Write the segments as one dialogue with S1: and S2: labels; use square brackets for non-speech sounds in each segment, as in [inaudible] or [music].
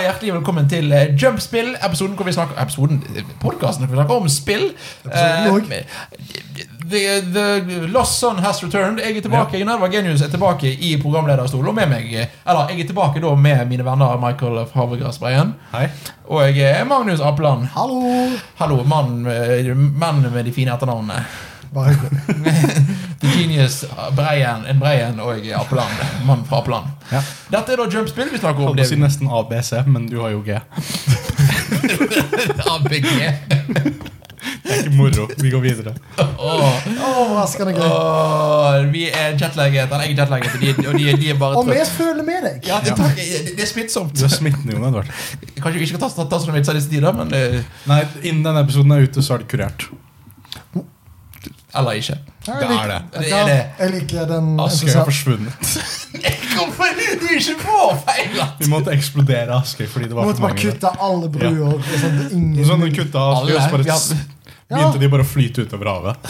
S1: hjertelig velkommen til eh, Jumpspill, episoden hvor vi snakker Episoden, podkasten hvor vi snakker om spill.
S2: Episoden
S1: Eh, the, the Lost Son Has Returned. Jeg er tilbake, Nerva Genius er tilbake i programlederstolen. Og med meg eh, Eller, jeg er tilbake da med mine venner Michael Havregrass Breien.
S3: Hei.
S1: Og eh, Magnus Appeland.
S2: Hallo!
S1: Hallo, mannen med- mannen med de fine etternavnene.
S2: Bare
S3: [laughs]
S2: hyggelig.
S1: The Genius eh, Breien, en Breien og Appeland. Mann fra Appeland.
S3: Ja.
S1: Dette er da Jumpspill. Vi snakker om
S3: Holdt på
S1: det [laughs]
S3: å si nesten ABC, men du har jo G. Det
S1: ABG.
S3: er ikke moro. Vi går videre.
S1: Åh,
S2: Overraskende gøy.
S1: åh, vi er jetlaget, eller jeg er jetlaget, og de, og de, de er bare
S2: Og vi
S1: trøtt.
S2: føler med deg.
S1: Ja, det, takk, det det er smittsomt.
S3: Du er smittende, Jon Edvard.
S1: Kanskje vi ikke skal ta, ta, ta sånne vitser i disse tider, men eh,
S3: Nei, innen denne episoden er ute, så er det kurert.
S1: Eller ikke. [laughs]
S2: Jeg
S3: Det
S2: liker-
S3: er det.
S2: Vet du
S1: Det er
S2: hva?
S1: det.
S2: Jeg liker den
S3: Askøy har
S2: entusiasmen.
S3: forsvunnet.
S1: Hvorfor du er ikke på feil?
S3: Vi måtte eksplodere Askøy fordi det
S2: Vi
S3: var
S2: måtte
S3: for
S2: bare
S3: mange.
S2: kutte alle bruer. Sånn, at ingen,
S3: Sånn, de kutta Askøy, og så
S1: Alle,
S3: bare
S1: ja.
S3: s- begynte de bare å flyte utover havet.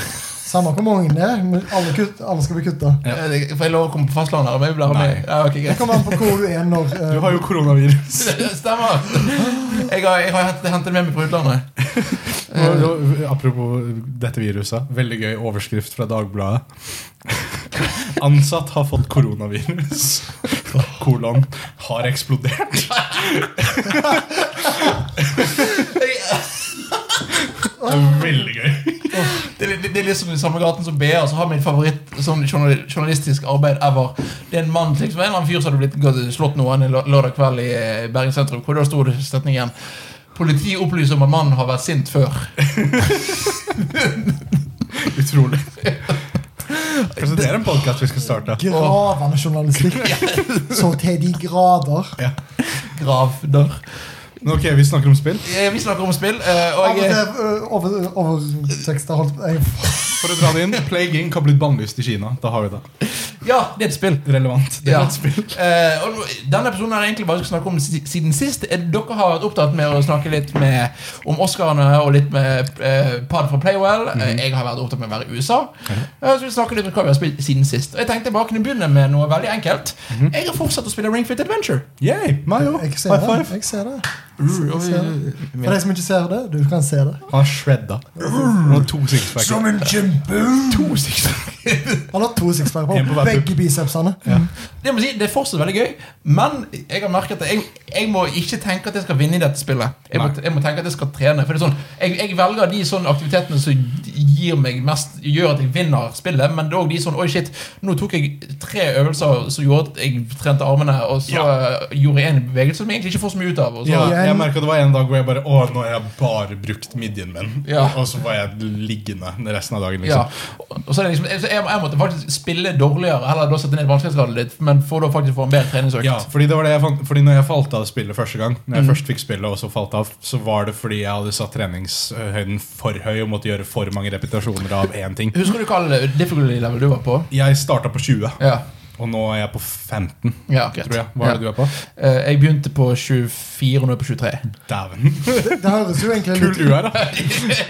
S2: Samme hvor mange det er, men alle, kutt, alle skal bli kutta.
S3: Ja.
S1: Eh, Får jeg lov å komme på fastlandet? eller? Jeg vil ha
S3: Nei.
S1: med. Ja, ok,
S2: Det
S3: [laughs]
S1: greit.
S2: kommer an på hvor du er når eh,
S3: Du har jo koronavirus.
S1: Stemmer. Jeg har, jeg har hentet hentet det med meg fra
S3: [laughs]
S1: utlandet.
S3: Og-
S1: Eh.
S3: og- Apropos dette viruset. Veldig gøy overskrift fra Dagbladet. [laughs] Ansatt har fått koronavirus. Kolon har eksplodert.
S1: Jeg,
S3: Det er veldig gøy.
S1: Det, er litt- det, er liksom i samme gaten som BA, så har min favoritt sånn journal- journalistisk arbeid ever. Det er en mann, liksom, en eller annen fyr som hadde blitt gått- slått noen en lø- lørdag kveld i eh, Bergen sentrum. Hvor da sto det setningen 'Politi opplyser om at mannen har vært sint før'.
S3: Utrolig. Kanskje det er en podkast vi skal starte?
S2: eh, Gravende journalistikk. Så til de grader.
S3: Ja.
S1: Gravder.
S3: Men ok, vi snakker om spill.
S1: Eh, Vi snakker om spill, eh, og
S2: Av og
S1: jeg
S2: til
S1: er
S2: eh, over, overtekster holdt jeg,
S3: For å dra det inn, Plague Inc. har blitt bannlyst i Kina. Da har vi det.
S1: Ja, det er et spill.
S3: Relevant. Det er
S1: Ja.
S3: et spill.
S1: Eh, og nå- denne episoden er det egentlig bare jeg skal snakke om si- siden sist. Eh, Dere har vært opptatt med å snakke litt med, om Oscarene og litt med eh, Pad fra Playwell. Eh, Jeg har vært opptatt med å være i USA. Eh, så vi snakker litt om hva vi har spilt siden sist. Og jeg tenkte jeg bare kunne begynne med noe veldig enkelt. Jeg har fortsatt å spille Ring Fit Adventure.
S3: Yay, meg òg.
S2: jeg
S3: High
S2: ser det.
S3: five.
S2: Jeg ser det.
S1: Uh, og vi-
S2: For de som ikke ser det, du kan se det.
S3: Han shredda. Han har to sixpacker.
S2: en jumbo!
S3: To sixpacker.
S2: Han har to sixpack på
S3: En på hver
S2: begge bicepsene.
S1: det, må jeg si, det er fortsatt veldig gøy, men jeg har merket at jeg, jeg må ikke tenke at jeg skal vinne i dette spillet. Jeg må,
S3: Nei.
S1: jeg må tenke at jeg skal trene. For det er sånn, jeg, jeg velger de sånne aktivitetene som gir meg mest, gjør at jeg vinner spillet, men det er også de sånn Oi, shit, nå tok jeg tre øvelser som gjorde at jeg trente armene, og så eh, gjorde jeg en bevegelse som jeg egentlig ikke får så mye ut av. Og så,
S3: Ja, jeg merket det var en dag hvor jeg bare Å, nå har jeg bare brukt midjen min.
S1: Ja.
S3: Og så var jeg liggende resten av dagen.
S1: Ja.
S3: liksom
S1: Og så er det liksom, så jeg, jeg måtte faktisk spille dårligere, heller da sette ned vanskelighetsgraden litt, men for da faktisk få en bedre treningsøkt.
S3: Ja, fordi det var det jeg fant Fordi når jeg falt av spillet første gang, Når jeg først fikk spillet og så falt av, så var det fordi jeg hadde satt treningshøyden for høy og måtte gjøre for mange repetasjoner av én ting.
S1: Husker du hva difficulty level du var på?
S3: Jeg starta på 20,
S1: Ja,
S3: og nå er jeg på 15,
S1: ja greit.
S3: tror jeg. Hva er det du er på?
S1: Eh, Jeg begynte på 24, og nå er jeg på 23.
S3: Dæven. [laughs]
S2: Det høres jo egentlig
S3: Kul
S2: litt
S3: du er, da.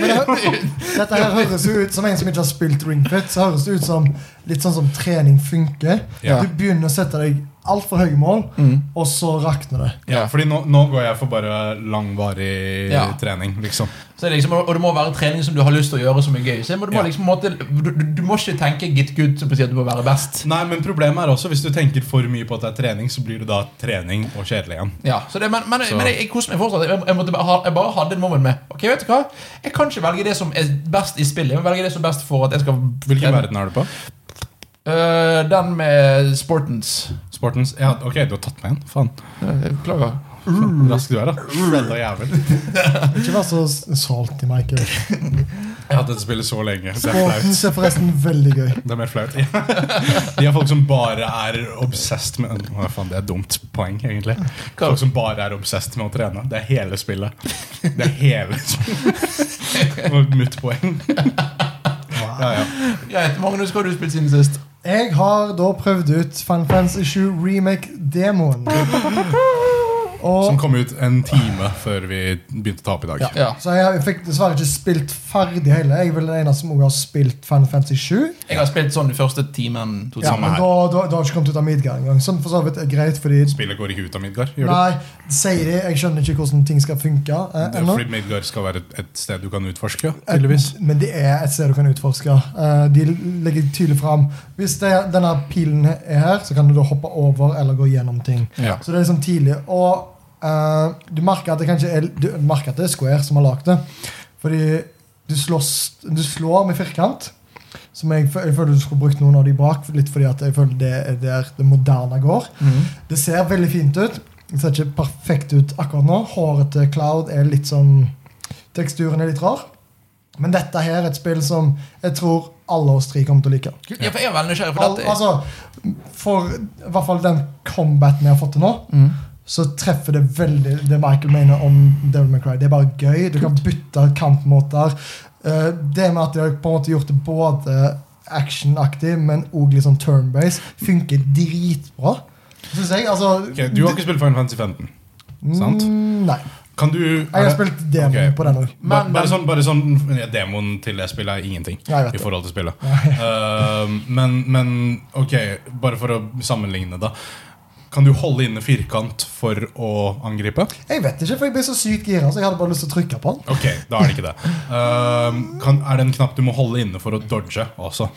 S2: Men det hø- [laughs] Dette her høres jo ut som en som ikke har spilt ringfit. Så høres det ut som litt sånn som trening funker.
S3: Ja. Mm.
S2: Du begynner å sette deg altfor høye mål, og så rakner det.
S3: Ja, fordi nå, nå går jeg for bare langvarig
S1: Ja.
S3: trening, liksom.
S1: Så det er liksom, og det må være trening som du har lyst til å gjøre, som er gøy. Så jeg må, du, må
S3: Ja.
S1: liksom, på en måte, du, du- du må ikke tenke 'get good' som betyr at du må være best.
S3: Nei, men problemet er også hvis du tenker for mye på at det er trening, så blir det da trening og kjedelig igjen.
S1: Ja, så det, Men, men,
S3: Så.
S1: men jeg, jeg koste meg fortsatt. Jeg, jeg, måtte bare, ha- jeg bare hadde en moment med Ok, vet du hva? Jeg kan ikke velge det som er best i spillet. Jeg må velge det som er best for at jeg skal
S3: Hvilken verden er du på?
S1: Øh, den med sportens.
S3: Sportens? Ja, ok, du har tatt meg igjen. Faen.
S1: Øh, Beklager.
S3: Mm. Rask du er, da. Shredda jævel.
S2: Ikke vær så s- salty, Michael.
S3: Jeg har hatt dette spillet så lenge. Det er
S2: Sporten
S3: flaut.
S2: ser forresten veldig gøy.
S3: Det er mer flaut. [laughs] De er folk som bare er obsessed med Hva faen, Det er et dumt poeng, egentlig. Folk som bare er obsessed med å trene. Det er hele spillet. Det er hele spillet. Og mitt poeng. Ja, ja.
S1: Greit, Magnus, hva har du spilt siden sist?
S2: Jeg har da prøvd ut Final Fantasy 7 Remake-demoen. Og
S3: Som kom ut en time før vi begynte å ta opp i dag.
S1: Ja.
S2: Så jeg, jeg fikk dessverre ikke spilt ferdig heller. Jeg er vel den eneste som også har spilt Final Fantasy 7.
S1: Jeg har spilt sånn den første timen. to
S2: Ja,
S1: timer.
S2: men
S3: her.
S2: da, da, da har jeg ikke kommet ut av Midgard engang. Som for så vidt er greit, fordi
S3: Spillet går ikke ut av Midgard. Gjør det?
S2: Nei, sier de. Jeg skjønner ikke hvordan ting skal funke eh,
S3: Det er
S2: ennå.
S3: Fordi Midgard skal være et, et sted du kan utforske, tydeligvis.
S2: Eh, Men det er et sted du kan utforske. Eh, De legger tydelig fram Hvis det, denne pilen er her, så kan du da hoppe over eller gå gjennom ting.
S3: Ja.
S2: Så det er liksom tidlig. Og eh, du merker at det kanskje er Du merker at det er Square som har lagd det. Fordi du, slåss, du slår med firkant. Som jeg, fø- jeg føler du skulle brukt noen av de bak, litt fordi at jeg føler det er der det moderne går.
S1: Mhm.
S2: Det ser veldig fint ut. Det ser ikke perfekt ut akkurat nå. Håret til Cloud er litt sånn Teksturen er litt rar. Men dette her er et spill som jeg tror alle oss tre kommer til å like.
S1: Ja, for jeg er veldig nysgjerrig på
S2: Al
S1: dette.
S2: altså, for i hvert fall den combaten jeg har fått til nå,
S1: Mm.
S2: så treffer det veldig det Michael mener om Devil May Cry. Det er bare gøy. Du kan bytte kampmåter. Eh, det med at de har på en måte gjort det både actionaktig, men òg litt sånn turn-base, funker dritbra. Syns jeg. Altså
S3: Ok, du har ikke spilt Final Fantasy 15? sant?
S2: Mm, nei.
S3: Kan du
S2: Jeg har spilt demoen
S3: Ok.
S2: på den òg.
S3: Ba-
S1: Men-
S3: bare
S1: men-
S3: sånn, bare sånn ja, Demoen til det spillet er ingenting
S2: Jeg vet
S3: i
S2: det.
S3: forhold til spillet. Ehm, men, men ok, bare for å sammenligne, da. Kan du holde inne firkant for å angripe?
S2: Jeg vet ikke, for jeg ble så sykt gira, så jeg hadde bare lyst til å trykke på den.
S3: Ok, da er det ikke det. Ehm, kan, er det en knapp du må holde inne for å dodge også?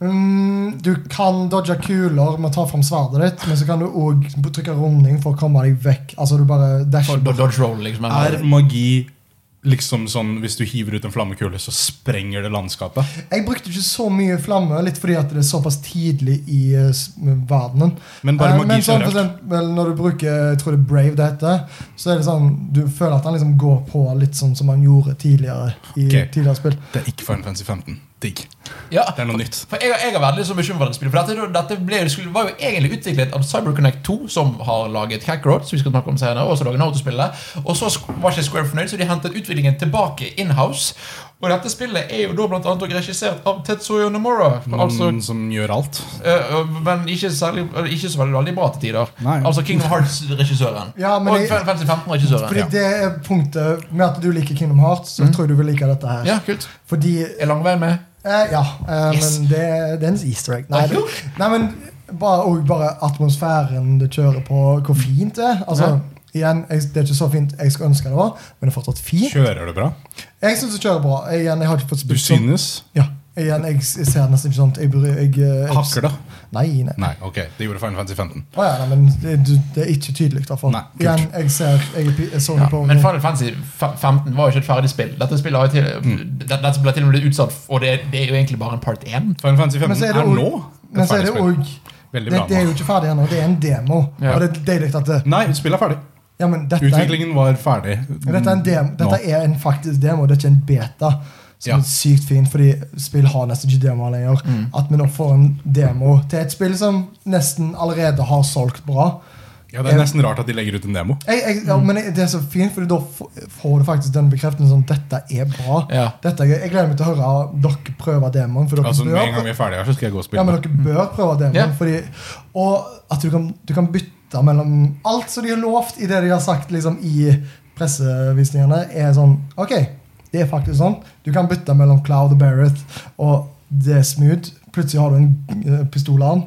S2: Mm, du kan dodge kuler med å ta fram sverdet ditt, men så kan du òg trykke runding for å komme deg vekk. Altså du bare
S1: For
S2: dasher
S1: do- Dodge roll, liksom.
S3: Er magi liksom sånn hvis du hiver ut en flammekule, så sprenger det landskapet?
S2: Jeg brukte ikke så mye flamme, litt fordi at det er såpass tidlig i eh, s- verdenen.
S3: Men bare
S2: Eh,
S3: magi
S2: men sånn, for
S3: generelt.
S2: eksempel, når du bruker jeg tror det er Brave det heter, så er det sånn du føler at han liksom går på litt sånn som han gjorde tidligere i
S3: Ok.
S2: tidligere spill.
S3: Det er ikke Final Fantasy 15. Digg.
S1: Ja.
S3: Det er noe nytt.
S1: For jeg, jeg har vært litt så bekymret for dette spillet. For dette, dette ble, skulle, var jo egentlig utviklet av CyberConnect 2, som har laget Hackrod, som vi skal snakke om senere, og så lager Nato-spillet. Og så sk- var ikke Square fornøyd, så de hentet utviklingen tilbake in-house. Og dette spillet er jo da blant annet også regissert av Tetsuyo Nomura.
S2: Mm.
S1: Altså,
S3: Noen som gjør alt.
S1: øh, øh, men ikke, særlig, øh, ikke så veldig, veldig bra til tider.
S3: Nei.
S1: Altså Kingdom Hearts-regissøren.
S2: Ja, men
S1: og
S2: jeg-
S1: Final Fantasy 15-regissøren.
S2: Fordi det er punktet med at du liker Kingdom Hearts, så tror jeg du vil like dette her.
S1: Ja, kult.
S2: Fordi
S1: Er lang vei med.
S2: Eh, ja, eh,
S1: Yes.
S2: men det, det er en easter egg. Nei,
S1: Ah,
S2: det,
S1: jo.
S2: nei men bare, og bare atmosfæren det kjører på, hvor fint det er. Altså, igjen, jeg, Det er ikke så fint jeg skulle ønske det var, men det er fortsatt fint.
S3: Kjører det bra?
S2: Jeg syns det kjører bra. Jeg, igjen, jeg har ikke fått
S3: Du
S2: spilt sånn.
S3: synes?
S2: Ja, igjen, jeg, jeg ser nesten ikke sånt. Jeg, bryr- jeg, jeg, jeg,
S3: Hakker det?
S2: nei, nei.
S3: Nei, ok, det gjorde Final Fantasy 15.
S2: Å ja, nei, men det, du- det er ikke tydelig, i hvert fall.
S3: Nei, kult.
S2: Igjen, jeg ser jeg, er pi- jeg så det
S1: Ja,
S2: på
S1: men Final Fantasy fe- 15 var jo ikke et ferdig spill. Dette spillet har jo til, det- dette ble til og med utsatt, og det, det er jo egentlig bare en part 1.
S3: Final Fantasy 15
S2: Men så er
S3: er,
S2: det også-
S3: nå et
S2: Men så er
S3: ferdig
S2: det
S3: spill.
S2: òg
S3: Veldig
S2: det,
S3: bra.
S2: det er jo ikke ferdig ennå. Det er en demo.
S1: Ja.
S2: Og det er deilig at det,
S3: nå. Nei, spillet er ferdig.
S2: ja, men dette er-
S3: Utviklingen var ferdig.
S2: Men Dette er en, demo,
S3: Nå.
S2: dette er en faktisk demo, det er ikke en beta. Som
S3: Ja. Mm.
S2: er sykt fint, fordi spill har nesten ikke demoer lenger. At vi nå får en demo til et spill som nesten allerede har solgt bra.
S3: Ja, det er nesten rart at de legger ut en demo.
S2: Jeg, jeg, ja,
S3: Mm.
S2: men det er så fint, fordi da f- får du faktisk den bekreftelsen om at dette er bra.
S1: Ja.
S2: Dette er, gøy. jeg gleder meg til å høre dere prøve demoen. For dere
S3: Altså, Med en
S2: bør,
S3: gang vi er ferdige her, så skal jeg gå og
S2: ja,
S3: spille.
S2: men dere bør prøve demoen.
S1: Mm. Ja.
S2: Fordi, og at du kan, du kan bytte mellom alt som de har lovt i det de har sagt liksom, i pressevisningene, er sånn Ok, det er faktisk sånn. Du kan bytte mellom Cloud og Barrett, og det er smooth. Plutselig har du en eh, pistolarm.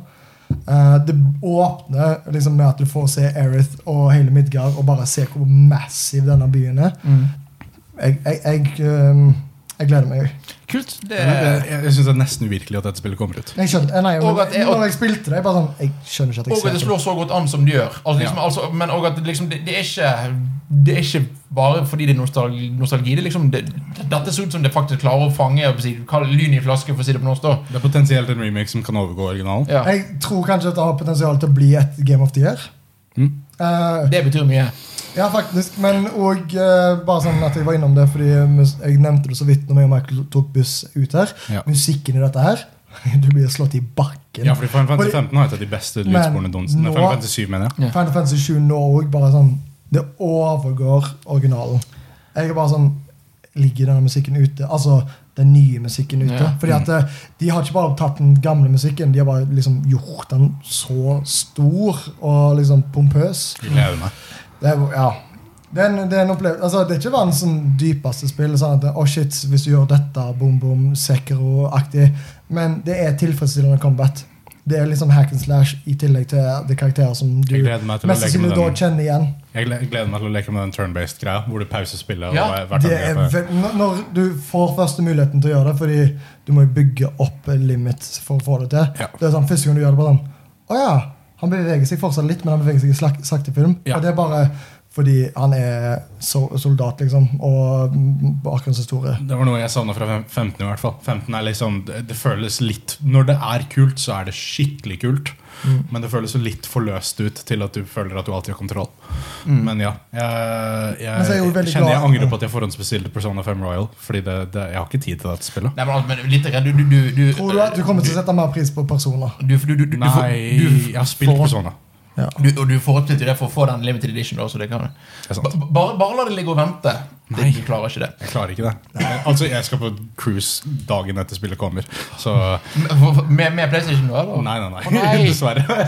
S2: Eh, det åpner liksom med at du får se Erith og hele Midgard og bare se hvor massiv denne byen er. Jeg, jeg, jeg, eh, jeg gleder meg.
S1: Kult. Det,
S3: Men Jeg, jeg, jeg syns det er nesten uvirkelig at dette spillet kommer ut.
S2: Jeg skjønner, eh, nei,
S1: Og at jeg-
S2: når jeg spilte det, jeg bare sånn Jeg skjønner ikke at jeg
S1: og at det
S2: ser på.
S1: slår så godt an som det gjør. Altså, liksom,
S3: Ja.
S1: altså, men og at det, liksom, det, det, er ikke, det er ikke bare fordi det er nostalgi. nostalgi det, er liksom, det, dette ser ut som det faktisk klarer å fange jeg holdt på å si, kall det lyn i flaske, for å si det på norsk. da.
S3: Det er potensielt en remake som kan overgå originalen.
S1: Ja.
S2: Jeg tror kanskje at det har potensial til å bli et Game of the Year.
S3: Mm.
S2: Eh,
S1: Det betyr mye.
S2: ja, faktisk. Men òg bare sånn at jeg var innom det, fordi mus- jeg nevnte det så vidt når jeg og Michael tok buss ut her.
S3: Ja.
S2: Musikken i dette her [laughs] Du blir slått i bakken.
S3: Ja, fordi Final Fantasy
S2: Fordi-
S3: 15 har et av de beste
S2: Men
S3: lydsporene Donsen.
S2: nå-
S3: Nei, Final Fantasy 7, mener jeg.
S1: Ja.
S2: Final Fantasy 7 nå òg bare sånn Det overgår originalen. Jeg er bare sånn Ligger denne musikken ute? Altså den nye musikken ute.
S1: Ja. Mm.
S2: Fordi at eh, De har ikke bare tatt den gamle musikken, de har bare liksom gjort den så stor og liksom pompøs.
S3: Vil jeg øve meg.
S2: Det er, ja. Det er, en, det er en opplevelse altså, Det er ikke verdens sånn, dypeste spill. Sånn at Å, shit, hvis du gjør dette, boom, boom, Sekiro-aktig. Men det er tilfredsstillende combat. Det er litt sånn hack and slash i tillegg til de karakterer som du
S3: Jeg gleder meg til å
S2: mest
S3: leke med
S2: sannsynlig da
S3: den
S2: kjenner igjen.
S3: Jeg gle- gleder meg til å leke med den turn-based greia, hvor du pauser spillet.
S1: Ja,
S3: og hvert
S2: Det er
S3: angrep er-
S2: ve- når- når du får første muligheten til å gjøre det, fordi du må jo bygge opp en limit for å få det til.
S3: Ja.
S2: Det er sånn, Første gang du gjør det, bare sånn Å ja! Han beveger seg fortsatt litt, men han beveger seg i slak, sakte film.
S3: Ja.
S2: Og det er bare fordi han er so soldat, liksom, og mm, bakgrunnshistorie.
S3: Det var noe jeg savna fra fem- 15 i hvert fall. 15 er liksom, det, det føles litt Når det er kult, så er det skikkelig kult.
S2: Mm.
S3: Men det føles jo litt for løst ut til at du føler at du alltid har kontroll. Men ja. Jeg,
S2: Mm. Men så er
S3: jeg,
S2: jeg jo veldig
S3: kjenner jeg
S2: glad-
S3: angrer på at jeg forhåndsbestilte Persona 5 Royal. Fordi det, det, jeg har ikke tid til dette spillet.
S1: Nei, men, men litt redd. Du, du, du, du
S2: Tror du at du kommer til å sette mer pris på personer?
S1: du, du, du, du, du,
S3: Nei,
S1: du-
S3: jeg har spilt
S1: for-
S3: Persona.
S2: Ja.
S1: Du, og du får opp til det for å få den limited edition. Da, så det kan
S3: Det er sant.
S1: Ba- bare, bare la det ligge og vente. Det,
S3: Nei.
S1: du klarer ikke det.
S3: Jeg klarer ikke det. Altså, jeg skal på cruise dagen etter spillet kommer. Så
S1: Med, med PlayStation nå, eller?
S3: nei, nei,
S1: Å,
S3: nei.
S1: nei.
S3: [laughs] Dessverre.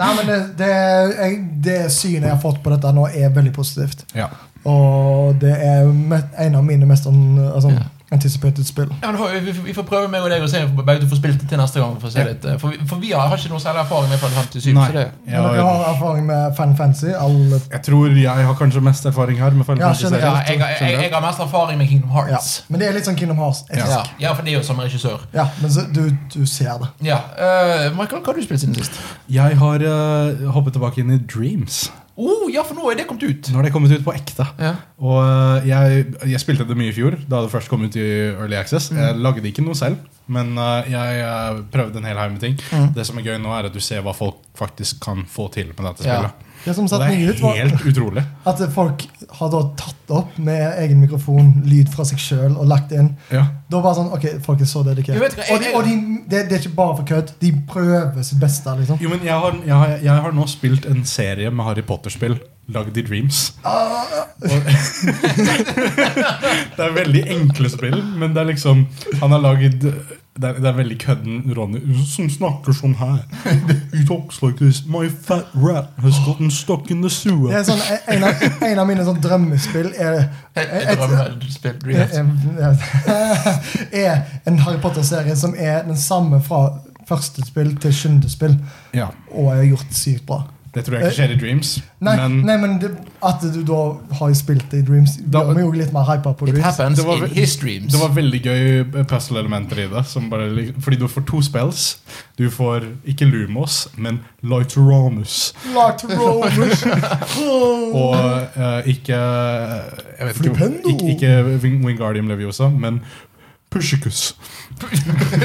S2: Nei, men det, det, jeg, det synet jeg har fått på dette nå, er veldig positivt.
S3: Ja.
S2: Og det er me- en av mine mest an, altså,
S1: Ja.
S2: anticipated spill.
S1: Ja, men får- vi, vi får prøve meg og deg å se om begge to får spilt det til neste gang. For, å se
S3: Ja.
S1: litt, eh, for, vi, for vi har, har ikke noe særlig erfaring med Final Fantasy 7.
S3: Nei.
S1: Så det,
S2: Men dere
S3: Jeg,
S2: har erfaring med Fan Fancy? Alle,
S3: jeg tror jeg har kanskje mest erfaring her. Med Final
S2: Ja,
S3: Fantasy
S2: skjønner
S1: ja,
S3: serier.
S1: jeg, jeg, jeg, jeg har mest erfaring med Kingdom
S2: ja.
S1: Hearts.
S2: Men det er litt sånn Kingdom Hearts.
S1: Ja,
S2: Ja.
S1: ja. for det er jo samme regissør.
S2: men så, du, du ser det.
S1: Ja, eh, Michael, hva har du spilt siden sist?
S3: Jeg har eh, hoppet tilbake inn i Dreams.
S1: Oh, ja, for nå er det kommet ut!
S3: Nå har det kommet ut på ekte.
S1: Ja.
S3: Og eh, jeg, jeg spilte det mye i fjor, da det først kom ut i Early Access.
S1: Mm.
S3: Jeg lagde ikke noe selv, men eh, jeg eh, prøvde en hel haug med ting.
S1: Mm.
S3: Det som er gøy nå, er at du ser hva folk faktisk kan få til med dette
S1: Ja.
S3: spillet.
S2: Det som
S3: Og
S2: satte
S3: det
S2: meg ut,
S3: er
S2: var
S3: helt
S1: [laughs]
S3: utrolig.
S2: at folk har da tatt opp med egen mikrofon lyd fra seg sjøl og lagt inn.
S3: Ja.
S2: Da var det sånn, ok, Folk er så dedikert.
S1: Du vet hva, jeg-
S2: og de, og de, det, det er ikke bare for kødd. De prøver sitt beste. liksom
S3: Jo, men jeg har, jeg, har, jeg har nå spilt en serie med Harry Potter-spill lagd i Dreams. Og, [laughs] det er veldig enkle spill, men det er liksom Han har lagd det er, det er veldig kødden Ronny som snakker sånn her. He talks like this. My fat rat has gotten stuck in the
S2: Det
S3: sewer.
S2: er sånn, en, av, en av mine sånn drømmespill er,
S1: Jeg, jeg drømmer om å spille Dreams.
S2: [laughs] er, er en Harry Potter-serie som er den samme fra første spill til sjuende spill.
S3: Ja,
S2: Og er gjort sykt bra.
S3: Det tror jeg ikke skjer i Dreams.
S2: Nei,
S3: men
S2: nei, men det, at du da har spilt det i Dreams,
S3: Da-
S2: gjør meg jo litt mer hypa på
S1: It
S2: Dreams.
S1: happens
S3: Det var
S1: in
S3: vel-
S1: his dreams.
S3: Det var veldig gøy eh, puzzle-elementer i det. Som bare, lik- fordi du får to spells. Du får ikke Lumos, men Lighteramus.
S2: Locked
S3: [laughs]
S2: Rovers.
S3: Og eh, ikke Jeg vet ikke,
S2: Mm. Flipendo.
S3: ikke, ikke Wing- Wingardium Leviosa, men Pushikus. [laughs]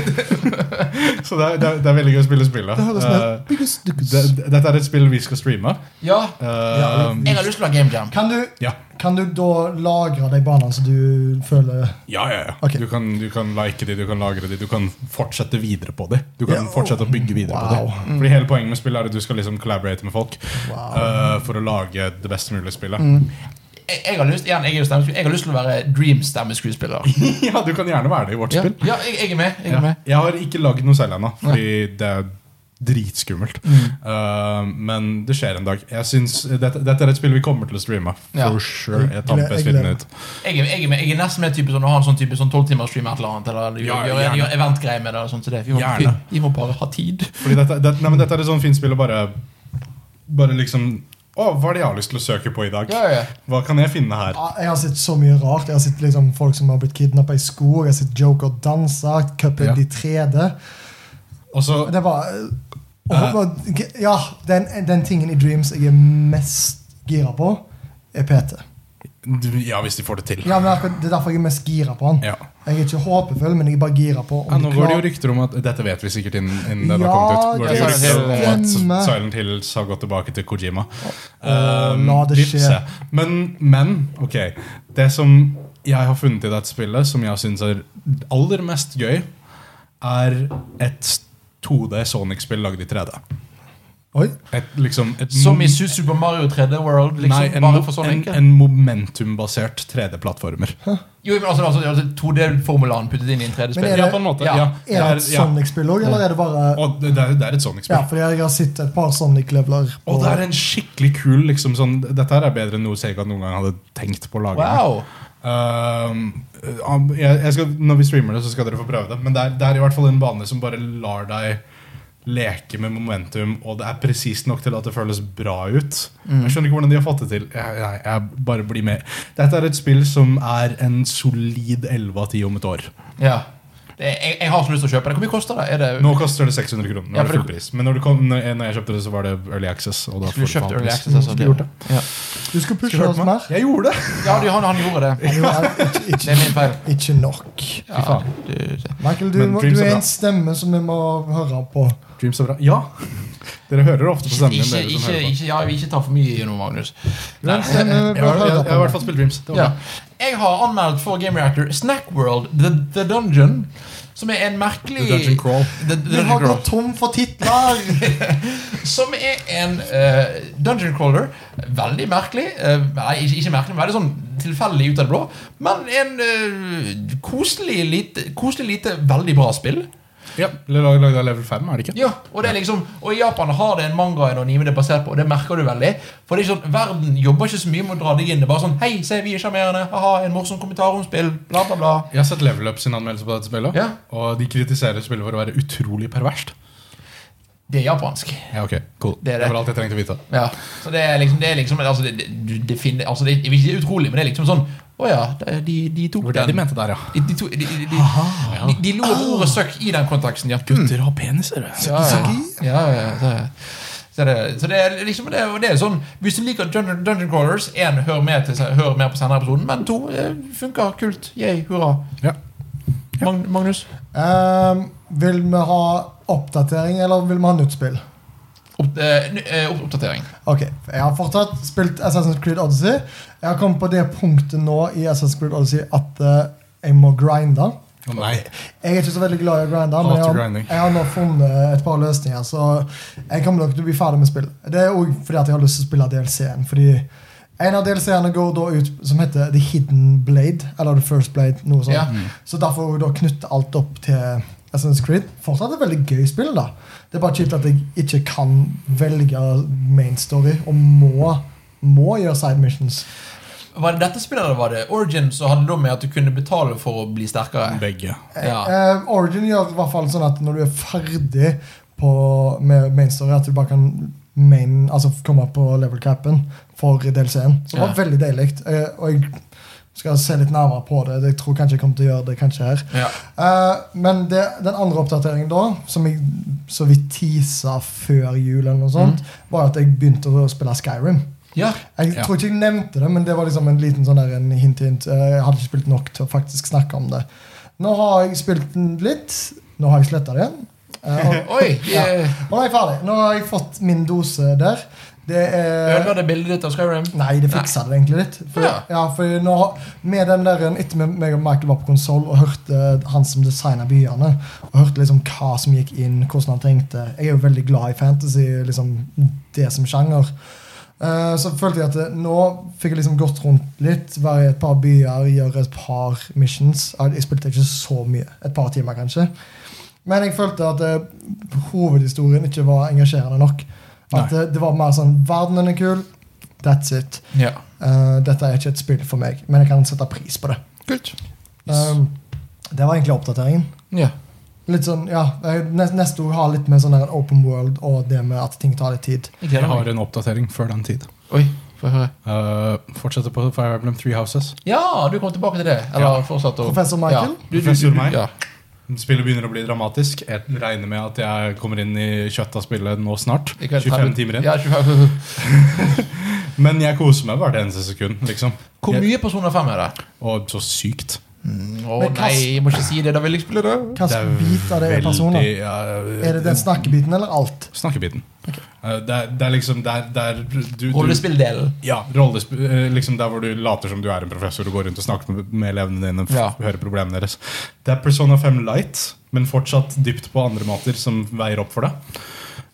S3: så det er, det, er, det er veldig gøy å spille spillet.
S2: Det høres
S3: Eh,
S2: ut
S3: det- det- Dette er et spill vi skal streame.
S1: Ja,
S3: Eh,
S2: Ja,
S1: jeg har lyst til å ha game jam.
S2: Kan du,
S3: ja.
S2: kan du da lagre de banene som du føler
S3: Ja, ja, ja.
S2: Ok.
S3: Du, kan, du kan like de, du kan lagre de, du kan fortsette videre på de. Du kan
S2: Ja.
S3: fortsette å bygge videre
S2: Wow. Mm.
S3: på de. Fordi Hele poenget med spillet er at du skal liksom collaborate med folk
S2: Wow. Mm.
S3: eh, for å lage det beste mulige spillet.
S1: Jeg, jeg, har lyst, igjen, jeg, er jo stemmeskuespiller. jeg har lyst til å være Dream-stemmeskuespiller.
S3: [laughs] ja, du kan gjerne være det i vårt
S1: Ja,
S3: spill.
S1: ja jeg, jeg er med. Jeg er
S3: Ja.
S1: med.
S3: Jeg har ikke lagd noe selv ennå, fordi det er dritskummelt. Uh, men det skjer en dag. Jeg synes, dette, dette er et spill vi kommer til å streame. For
S1: Ja.
S3: sure. Jeg tar
S2: Jeg gleder- jeg
S3: med PS4-en
S2: gleder
S3: ut.
S1: Jeg, er, jeg, er med. jeg er nesten med type sånn, å ha en sånn type sånn 12-timersstream eller et eller annet. Eller
S3: Ja,
S1: gjøre gjør,
S3: gjerne.
S1: gjør eventgreier med det. og sånt til det. Vi, må, vi,
S3: Gjerne.
S1: vi må bare ha tid.
S3: Fordi dette, det, nei, men dette er et sånn fint spill å bare Bare liksom Å, hva er det jeg har lyst til å søke på i dag?
S1: Ja, ja.
S3: Hva kan jeg finne her?
S2: Ja, Jeg har sett så mye rart. Jeg har sett liksom folk som har blitt kidnappa i skog. Jeg har sett Joker danse. Cuphead
S3: Ja.
S2: i 3D.
S3: Og så
S2: Det var Ja, den, den tingen i Dreams jeg er mest gira på, er PT.
S3: Ja, hvis de får det til.
S2: Ja, men akkurat- Det er derfor jeg er mest gira på han.
S3: Ja.
S2: Jeg er ikke håpefull, men jeg er bare gira på om
S3: Ja, nå
S2: de
S3: går det
S2: klarer-
S3: jo rykter om at Dette vet vi sikkert innen, innen den
S2: Ja,
S3: har kommet ut. Går
S2: det
S3: det jo rykter
S1: stemmer.
S3: om at Silent Hills har gått tilbake til Kojima. Um,
S2: la det
S3: vi
S2: skje.
S3: får se. Men, men ok. Det som jeg har funnet i dette spillet, som jeg syns er aller mest gøy, er et 2D Sonic-spill lagd i 3D.
S2: Oi.
S3: Et, liksom, et
S1: Som i
S3: mom-
S1: Su- Super Mario 3D World, liksom,
S3: Nei, en,
S1: bare for sånne
S3: en,
S1: enkle.
S3: en momentumbasert 3D-plattformer.
S1: Jo, men altså, altså, altså 2D-formulaen puttet inn i en 3D-spill.
S2: Men er
S3: Ja,
S2: det-
S3: på en måte.
S1: Ja.
S3: Ja.
S2: Er det et
S3: ja.
S2: Sonic-spill òg, eller er det bare
S3: Og det, det er- det er et Sonic-spill.
S2: Ja, fordi jeg har sett et par Sonic-leveler.
S3: Og det er en skikkelig kul liksom, sånn, Dette her er bedre enn noe Sega noen gang hadde tenkt på å lage.
S1: Wow!
S3: Um, um, jeg, jeg skal, når vi streamer det, så skal dere få prøve det. Men det er, det er i hvert fall en bane som bare lar deg leke med momentum, og det er presist nok til at det føles bra ut.
S1: Mm.
S3: Jeg skjønner ikke hvordan de har fått det til. Jeg, jeg, jeg bare blir med. Dette er et spill som er en solid 11 av 10 om et år.
S1: Ja. Det, jeg, jeg har så lyst til å kjøpe det. Hvor mye koster det? Er det
S3: Nå koster det 600 kroner. Nå
S1: Ja,
S3: er det
S1: for
S3: full pris. Men når, det kom, når jeg- når jeg kjøpte det, så var det Early Access. Og da
S1: skulle
S3: får
S1: du
S3: du
S1: kjøpt
S3: faen
S1: Early
S3: pris.
S1: Access? Altså,
S2: Skulle gjort
S1: Ja,
S2: Du skulle pushe
S1: Skulle
S2: oss
S1: hørt
S2: mer.
S3: Jeg gjorde det!
S1: ja de, han, han gjorde det.
S2: Jo, jeg-
S3: [laughs]
S2: ikke,
S1: Det er
S2: ikke,
S1: min feil.
S2: ikke nok.
S1: Ja,
S3: faen.
S1: du-
S2: Michael, du,
S3: Men
S2: må-
S3: Dreams
S2: du
S3: er
S2: er
S3: bra.
S2: en stemme som vi må høre på.
S3: Dreams er bra. Ja! Dere hører det ofte på
S1: Ikke,
S3: stemmen. min,
S1: ikke,
S3: dere som
S1: ikke,
S3: hører på.
S1: ikke, ja, vi ikke ta for mye i noe, Magnus. eh,
S2: Du er en
S1: Nei.
S2: stemme vi bør
S3: Jeg har jeg-
S2: høre
S3: jeg har i hvert
S2: på.
S3: fall spilt Dreams. Det var
S1: Ja.
S3: bra.
S1: Jeg har anmeldt for Game Reactor Snack World The, The Dungeon, som er en merkelig
S3: The Dungeon Crawl.
S1: The- The
S2: Vi
S1: Dungeon
S2: har
S1: Crawl.
S2: gått tom for
S3: [laughs]
S2: titler!
S1: Som er en eh, dungeon crawler. Veldig merkelig. eh, nei, ikke, ikke merkelig, men veldig sånn tilfeldig ut av det blå. Men en eh, koselig, lite, koselig lite, veldig bra spill.
S3: Ja, lag- Lagd av Level 5, er det ikke?
S1: Ja, og det er liksom Og i Japan har det en manga og en anime det er basert på, og det merker du veldig. For det er ikke sånn, Verden jobber ikke så mye med å dra deg inn. Det er bare sånn Hei, se, vi er sjarmerende. Ha-ha, en morsom kommentar om spill. Bla, bla, bla.
S3: Jeg har sett Level Up sin anmeldelse på dette spillet.
S1: Ja.
S3: Og de kritiserer spillet for å være utrolig perverst.
S1: Det er japansk.
S3: Ja, ok, cool
S1: Det er det.
S3: var alt jeg trengte å vite.
S1: Ja, så det er liksom, det er liksom altså, det, det, du- det finner, altså, det, Jeg vil ikke si utrolig, men det er liksom sånn Å ja, de, de, de tok
S3: Det var det
S1: den.
S3: de mente der, ja.
S1: De, de, to- de, de, de, de, de lo om ordet søkk i den konteksten. Ja.
S3: Gutter har peniser.
S1: Ja, ja. ja, ja, det- Så det, så det er liksom det, og det er sånn Hvis du liker Dungeon, Dungeon Crawlers, én hør, mer til- hør mer på senere episoden, men to eh, funker kult. Yay, hurra.
S3: Ja.
S1: Mag- Magnus?
S2: Ehm, vil vi ha oppdatering, eller vil vi ha nytt spill?
S1: Opp, eh, ny- eh, opp- oppdatering.
S2: Ok, Jeg har fortsatt spilt Assassin's Creed Odyssey. Jeg har kommet på det punktet nå i Assassin's Creed Odyssey at eh, jeg må grinde.
S3: Å nei.
S2: Jeg er ikke så veldig glad i å grinde, men
S3: Hater
S2: jeg har,
S3: grinding.
S2: jeg har nå funnet et par løsninger. Så jeg kommer nok til å bli ferdig med spill. Det er òg fordi at jeg har lyst til å spille DLC-en. Fordi en av DLC-ene går da ut som heter The Hidden Blade, eller The First Blade. noe sånt.
S1: Ja.
S2: Så derfor er jeg da knytte alt opp til Assassin's Creed. Fortsatt et veldig gøy spill. da. Det er bare kjipt at jeg ikke kan velge main story og må, må gjøre side missions.
S1: Var det dette spillet eller var det Origin som hadde da med at du kunne betale for å bli sterkere?
S3: Begge.
S1: Ja.
S2: Eh, Origin gjør i hvert fall sånn at når du er ferdig på, med main story, at du bare kan main, altså komme på level capen for DLC-en. Så det var
S1: Ja.
S2: veldig deilig. Eh, og jeg skal se litt nærmere på det. Jeg tror kanskje jeg kommer til å gjøre det kanskje her.
S1: Ja.
S2: Eh, men det, den andre oppdateringen da, som jeg så vidt tisa før jul, eller noe sånt, var at jeg begynte å spille Skyrim.
S1: ja.
S2: Jeg
S3: Ja.
S2: tror ikke jeg nevnte det, men det var liksom en liten sånn der, en hint, hint. Eh, Jeg hadde ikke spilt nok til å faktisk snakke om det. Nå har jeg spilt den litt. Nå har jeg sletta det. Eh, Og,
S1: [laughs] Oi!
S2: Ja.
S1: eh,
S2: og nå er jeg ferdig. Nå har jeg fått min dose der. Det er
S1: Ødela det bildet ditt av Skyrim?
S2: Nei, det fiksa det egentlig litt. For, ja.
S1: Ja.
S2: for nå, med den der, Etter at meg og Michael var på konsoll og hørte han som designa byene, og hørte liksom hva som gikk inn, hvordan han tenkte Jeg er jo veldig glad i fantasy, liksom det som sjanger. Eh, så følte jeg at eh, nå fikk jeg liksom gått rundt litt, være i et par byer, gjøre et par missions. Jeg jeg spilte ikke så mye. Et par timer, kanskje. Men jeg følte at eh, hovedhistorien ikke var engasjerende nok. At eh, det var mer sånn Verdenen er kul. That's it.
S1: Ja.
S2: Eh, dette er ikke et spill for meg, men jeg kan sette pris på det.
S1: Kult.
S2: Um, det var egentlig oppdateringen.
S1: Eh, Ja.
S2: Litt sånn, ja, eh, nes- Neste ord har litt med sånn der open world og det med at ting tar litt tid.
S1: Jeg
S3: Jeg
S1: gleder
S3: har
S1: meg.
S3: en oppdatering før den tid.
S1: Oi, få høre.
S3: Uh, fortsetter på Fire Emblem Three Houses.
S1: Ja, du kom tilbake til det. Eller
S3: Ja.
S1: fortsatt å
S2: Professor Michael?
S1: Ja. Du, du,
S3: Professor
S1: du,
S3: Mike?
S1: ja.
S3: Spillet begynner å bli dramatisk. Jeg regner med at jeg kommer inn i kjøttet av spillet nå snart.
S1: I kveld
S3: 25
S1: 30
S3: timer inn.
S1: Ja, 25.
S3: Men jeg koser meg hvert eneste sekund. liksom
S1: [laughs] Hvor
S3: Jeg-
S1: mye personer fem er det?
S3: Og så sykt.
S1: Mm, Å
S2: Men
S1: nei,
S2: Kas-
S1: jeg må ikke si det. Da vil jeg spille det.
S2: Hvilken bit av det er personer?
S3: veldig, ja,
S2: Er det den snakkebiten eller alt?
S3: Snakkebiten. Eh, Det, er, det er liksom der, der du, du
S1: Rollespill-delen.
S3: Ja, rollesp- eh, liksom der hvor du later som du er en professor og går rundt og snakker med, med elevene dine. og f-
S1: Ja.
S3: hører problemene deres Det er Persona 5 Light, men fortsatt dypt på andre måter som veier opp for det.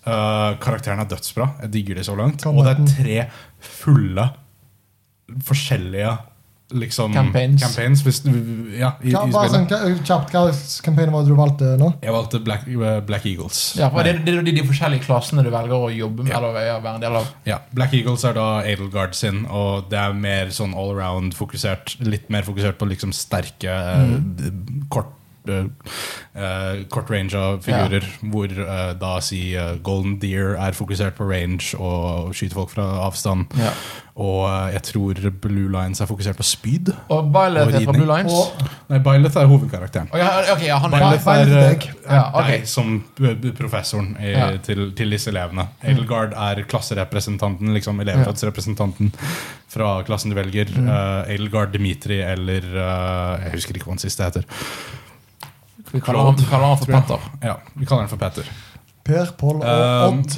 S3: Uh, karakterene er dødsbra. Jeg digger de så langt. Og det er tre fulle forskjellige liksom,
S1: Campaigns.
S3: hvis du- ja, i,
S2: Ja,
S3: i
S2: bare sånn
S3: spillet.
S2: ka- kjapt, hva slags campaign var det du valgte nå?
S3: Jeg valgte Black, eh, Black Eagles.
S1: Ja, for det, det er jo de, de forskjellige klassene du velger å jobbe med
S3: Ja.
S1: eller ja, være en del av.
S3: Ja, Black Eagles er da Adelgard sin, og det er mer sånn all around fokusert. Litt mer fokusert på liksom sterke, eh, d- kort eh, eh, kort range av figurer, hvor eh, da si eh, Golden Deer er fokusert på range og skyter folk fra avstand.
S1: Ja.
S3: Og eh, jeg tror Blue Lines er fokusert på spyd.
S1: Og Byleth
S3: Og
S1: er fra
S3: ridning.
S1: Blue Lines.
S2: Og-
S3: Nei, Byleth er hovedkarakteren.
S1: Å, ja, ok, ja, han er
S3: Byleth
S2: Byleth
S3: er,
S2: er
S3: eh,
S2: deg.
S3: er
S1: Ja, ok.
S3: deg som p- p- professoren i,
S1: Ja.
S3: til, til disse elevene.
S2: Mm.
S3: Edelgard er klasserepresentanten, liksom elevrådsrepresentanten fra klassen du velger.
S2: Mm.
S3: Eh, Edelgard, Dimitri eller eh, Jeg husker ikke hva han siste heter.
S1: Vi kaller han, vi kaller han for
S3: tror jeg.
S1: Petter.
S3: Ja, Vi kaller han for Petter.
S2: Per, Pål og
S3: Um,
S2: Odd.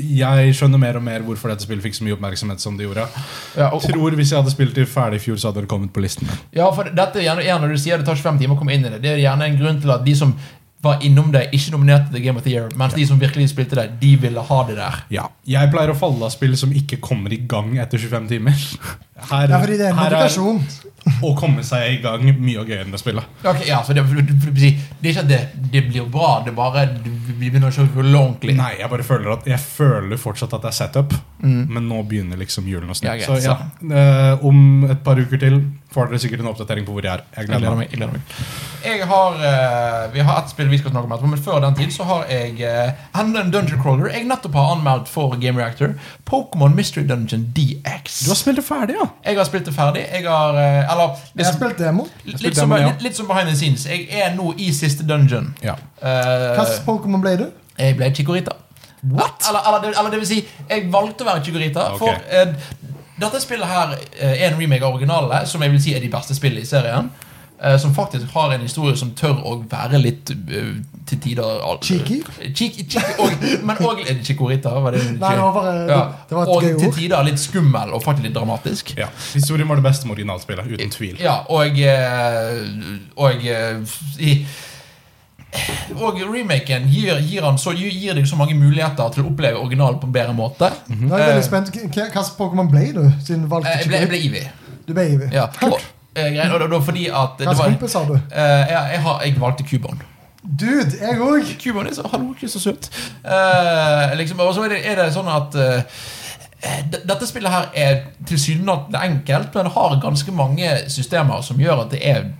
S2: eh,
S3: jeg skjønner mer og mer hvorfor dette spillet fikk så mye oppmerksomhet som det gjorde.
S1: Ja, og,
S3: Tror Hvis jeg hadde spilt det ferdig i fjor, så hadde det kommet på listen.
S1: ja, for dette er gjerne en når du sier det tar 25 timer å komme inn i det. Det er gjerne en grunn til at de som var innom det, ikke nominerte The Game of the Year, mens de som virkelig spilte det, de ville ha det der.
S3: Ja. Jeg pleier å falle av spill som ikke kommer i gang etter 25 timer. Her,
S2: Ja, fordi det er en
S3: her
S2: motivasjon.
S3: å komme seg i gang mye gøyere enn å spille.
S1: Ok, ja, så det, det, det er ikke at det, det blir bra, det er bare du- vi begynner å se hull ordentlig.
S3: Nei, jeg bare føler at Jeg føler fortsatt at det er setup, men nå begynner liksom julen å snu.
S1: Ja, greit,
S3: så ja, eh, om et par uker til får dere sikkert en oppdatering på hvor jeg er.
S1: Jeg
S3: Jeg
S1: gleder
S3: gleder
S1: meg.
S3: meg.
S1: Jeg gleder meg. Jeg har, eh, vi har ett spill vi skal snakke om etterpå, men før den tid så har jeg eh, enda en Dungeon Crawler jeg nettopp har anmeldt for Game Reactor. Pokémon Mystery Dungeon DX.
S3: Du har spilt det ferdig, ja?
S1: Jeg har spilt det ferdig. Jeg har eh, Eller
S2: Jeg har
S1: liksom,
S2: spilt demo.
S1: litt,
S3: spilt
S1: som,
S3: demo, ja.
S1: litt, litt som behind the scenes. Jeg er nå i siste dungeon.
S3: Ja.
S1: Eh,
S2: Hva slags Pokémon ble du?
S1: jeg ble Chikorita. What? Eller, eller, det- eller det vil si, jeg valgte å være Chikorita.
S3: Ok.
S1: For eh, dette spillet her eh, er en remake av originalene, som jeg vil si er de beste spillene i serien. eh, som faktisk har en historie som tør å være litt eh, til tider al-
S2: Cheeky?
S1: Cheeky, cheeky og, men òg Chikorita. Var det,
S2: Nei, det var bare- det var et
S1: og
S2: gøy
S1: til
S2: ord.
S1: tider litt skummel og faktisk litt dramatisk.
S3: ja. Historien var det beste med originalspillet, uten tvil.
S1: Ja, og eh, Og eh, i- Og remaken gir, gir, han så, gir deg så mange muligheter til å oppleve originalen på en bedre måte.
S3: Mhm.
S2: Nå er jeg veldig
S1: Eh,
S2: spent. Hva hva slags Pokémon ble du? Siden du valgte
S1: eh, jeg ble, jeg ble
S2: Chikorita?
S1: Ivy.
S2: Du ble Eevee.
S1: Ja. Og, eh, greit, og, da- da fordi at det
S2: Hva slags
S1: var,
S2: kompis har du?
S1: eh, ja, jeg, har, jeg valgte Cubone.
S2: Dude, jeg òg.
S1: Cubone er så hallo, ikke så søt. Eh, liksom, og så er det, er det sånn at eh, d- dette spillet her er tilsynelatende enkelt, men har ganske mange systemer som gjør at det er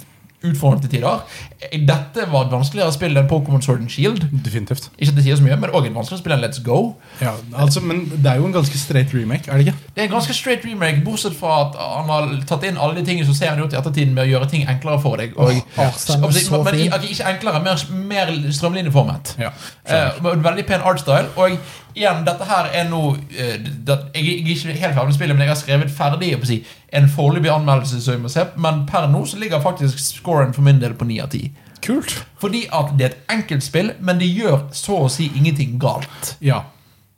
S1: utfordrende til tider. Eh, Dette var et vanskeligere spill enn Pokémon Sword and Shield.
S3: Definitivt.
S1: Ikke at det sier så mye, men også et vanskeligere spill enn Let's Go.
S3: Ja, altså, men det er jo en ganske straight remake, er det ikke?
S1: Det er en ganske straight remake, bortsett fra at han har tatt inn alle de tingene som ser han ut i ettertiden med å gjøre ting enklere for deg. Og,
S2: Åh, artstylen
S1: men,
S2: er så
S1: men
S2: fin.
S1: ok, ikke enklere, mer, mer strømlinjeformet.
S3: Ja.
S1: Eh, med en veldig pen artstyle. Og igjen, dette her er nå eh, det, Jeg er ikke helt ferdig med spillet, men jeg har skrevet ferdig jeg må si, en foreløpig anmeldelse. som jeg må se Men per nå så ligger faktisk scoren for min del på 9 av 10.
S3: Kult.
S1: Fordi at det er et enkelt spill, men det gjør så å si ingenting galt.
S3: Ja,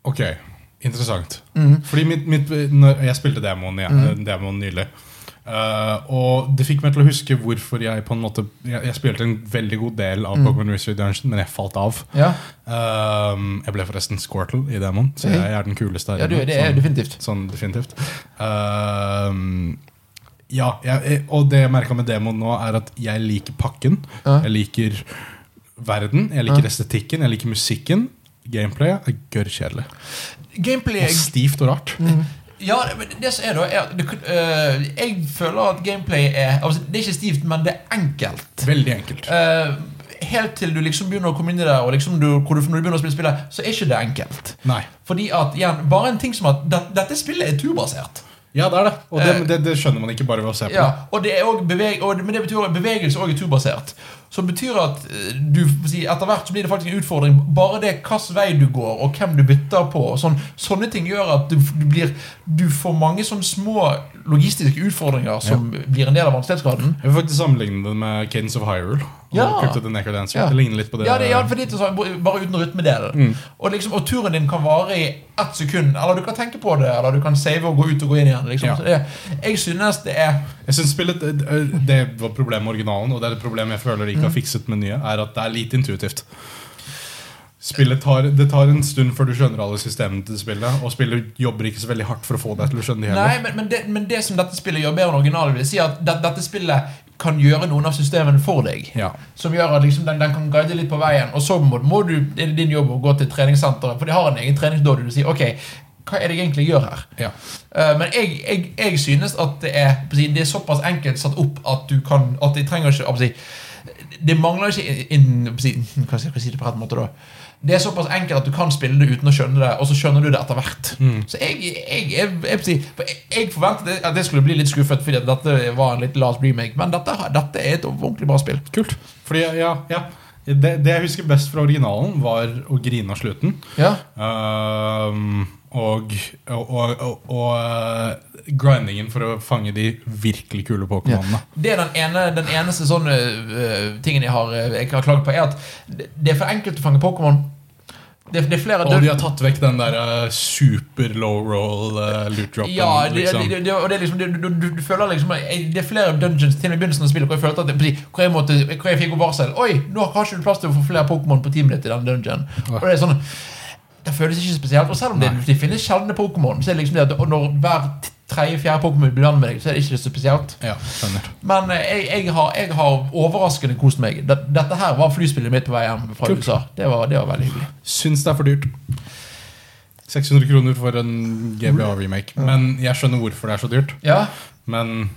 S3: ok Interessant Fordi mitt, mitt, når jeg spilte demoen, igjen, demoen nylig eh, Og det fikk meg til å huske hvorfor jeg på en måte Jeg, jeg spilte en veldig god del av Pokémon Research Dungeon Men jeg falt av
S1: Ja,
S3: Ehm, Jeg ble forresten Squirtle i demoen Så jeg er den kuleste her
S1: ja du,
S3: inne,
S1: det er
S3: sånn-
S1: definitivt.
S3: Sånn definitivt. Ehm, ja, jeg, og det jeg merka med demoen nå, er at jeg liker pakken.
S1: Ja.
S3: Jeg liker verden, jeg liker estetikken, jeg liker musikken. Gameplay er gørr kjedelig.
S1: Gameplay
S3: Og stivt og rart.
S1: Mm. Ja, det- men det som er da, er at du, kan- eh, Jeg føler at gameplay er altså, Det er ikke stivt, men det er enkelt.
S3: Veldig enkelt.
S1: Eh, helt til du liksom begynner å komme inn i det, og liksom du, hvor du, når du begynner å spille spillet, så er ikke det enkelt.
S3: Nei.
S1: Fordi at, igjen, bare en ting som at det- Dette spillet er turbasert.
S3: Ja, det er det. Og det,
S1: Eh.
S3: det, det skjønner man ikke bare ved å se på.
S1: Ja, og det er også beveg, og, men det betyr at bevegelse også er turbasert. Som betyr at eh, du, får si, etter hvert så blir det faktisk en utfordring. Bare det hvilken vei du går, og hvem du bytter på. Og sånn, sånne ting gjør at du, du, blir, du får mange sånne små logistiske utfordringer som blir en del av vanskelighetsgraden.
S3: Jeg vil faktisk sammenligne det med Cadence of Hyrule. Og
S1: Ja.
S3: Crypt of the Necrodancer.
S1: Ja.
S3: Det ligner litt på det. Mm.
S1: Ja, det, ja for det er sånn, bare uten rytmedelen. Og, liksom, og turen din kan vare i ett sekund, eller du kan tenke på det, eller du kan save og gå ut og gå inn igjen. Liksom.
S3: Ja.
S1: Så det, jeg synes det er
S3: Jeg synes spillet, det- Det var problemet med originalen, og det er et problem jeg føler de ikke har fikset med nye. Er at det er lite intuitivt. Spillet tar, det tar en stund før du skjønner alle systemene til spillet. Og spillet jobber ikke så veldig hardt for å få deg til å skjønne det
S1: Nei,
S3: heller.
S1: men, men, det, men det som dette spillet gjør bedre enn originalen, vil si at det, dette spillet kan gjøre noen av systemene for deg.
S3: Ja.
S1: Som gjør at liksom, den, den kan guide litt på veien, og så må, må du, er det din jobb å gå til treningssenteret. For de har en egen treningsdåde. Du sier OK, hva er det jeg egentlig gjør her?
S3: Ja.
S1: Eh, men jeg, jeg, jeg synes at det er, på å si, det er såpass enkelt satt opp at du kan At jeg trenger ikke å si, Det mangler ikke inn, på å si, Hva skal jeg si det på rett måte, da? Det er såpass enkelt at du kan spille det uten å skjønne det, og så skjønner du det etter hvert.
S3: Mm.
S1: Så jeg, jeg, jeg, jeg, på å si, for jeg, jeg forventet at jeg skulle bli litt skuffet, fordi at dette var en litt last remake, men dette, har- dette er et ordentlig bra spill.
S3: Kult. Fordi, ja, ja. Det, det jeg husker best fra originalen, var å grine av slutten.
S1: Ja,
S3: Ehm, og og, og, og, og eh, grindingen for å fange de virkelig kule Pokémonene.
S1: Det er den, ene, den eneste sånne øh, tingen jeg har, øh, jeg har klaget på, er at det det er for enkelt å fange Pokémon. Det, det er flere
S3: Og
S1: død-
S3: de har tatt vekk den der eh, super low roll uh, loot dropen.
S1: Ja, det,
S3: liksom.
S1: det, det, og det er liksom, du, du, du, du føler liksom jeg- Det er flere dungeons til og med i begynnelsen av spillet hvor jeg følte at det, hvor jeg, måtte, hvor jeg fikk jo varsel Oi, nå har ikke du plass til å få flere Pokémon på teamet ditt i den dungeon. Og det er sånn Det føles ikke spesielt. Og selv om det, det finnes sjeldne Pokémon, så er det liksom det at når hver tredje-fjerde Pokémon blir venn med deg, så er det ikke så spesielt.
S3: ja, skjønner.
S1: Men eh, jeg, jeg, har, jeg har overraskende kost meg. Det- Dette her var flyspillet mitt på vei hjem fra
S3: Kult.
S1: USA. Det var, det var veldig hyggelig.
S3: Syns det er for dyrt. 600 kroner for en GBA-remake. Men jeg skjønner hvorfor det er så dyrt.
S1: Ja,
S3: Men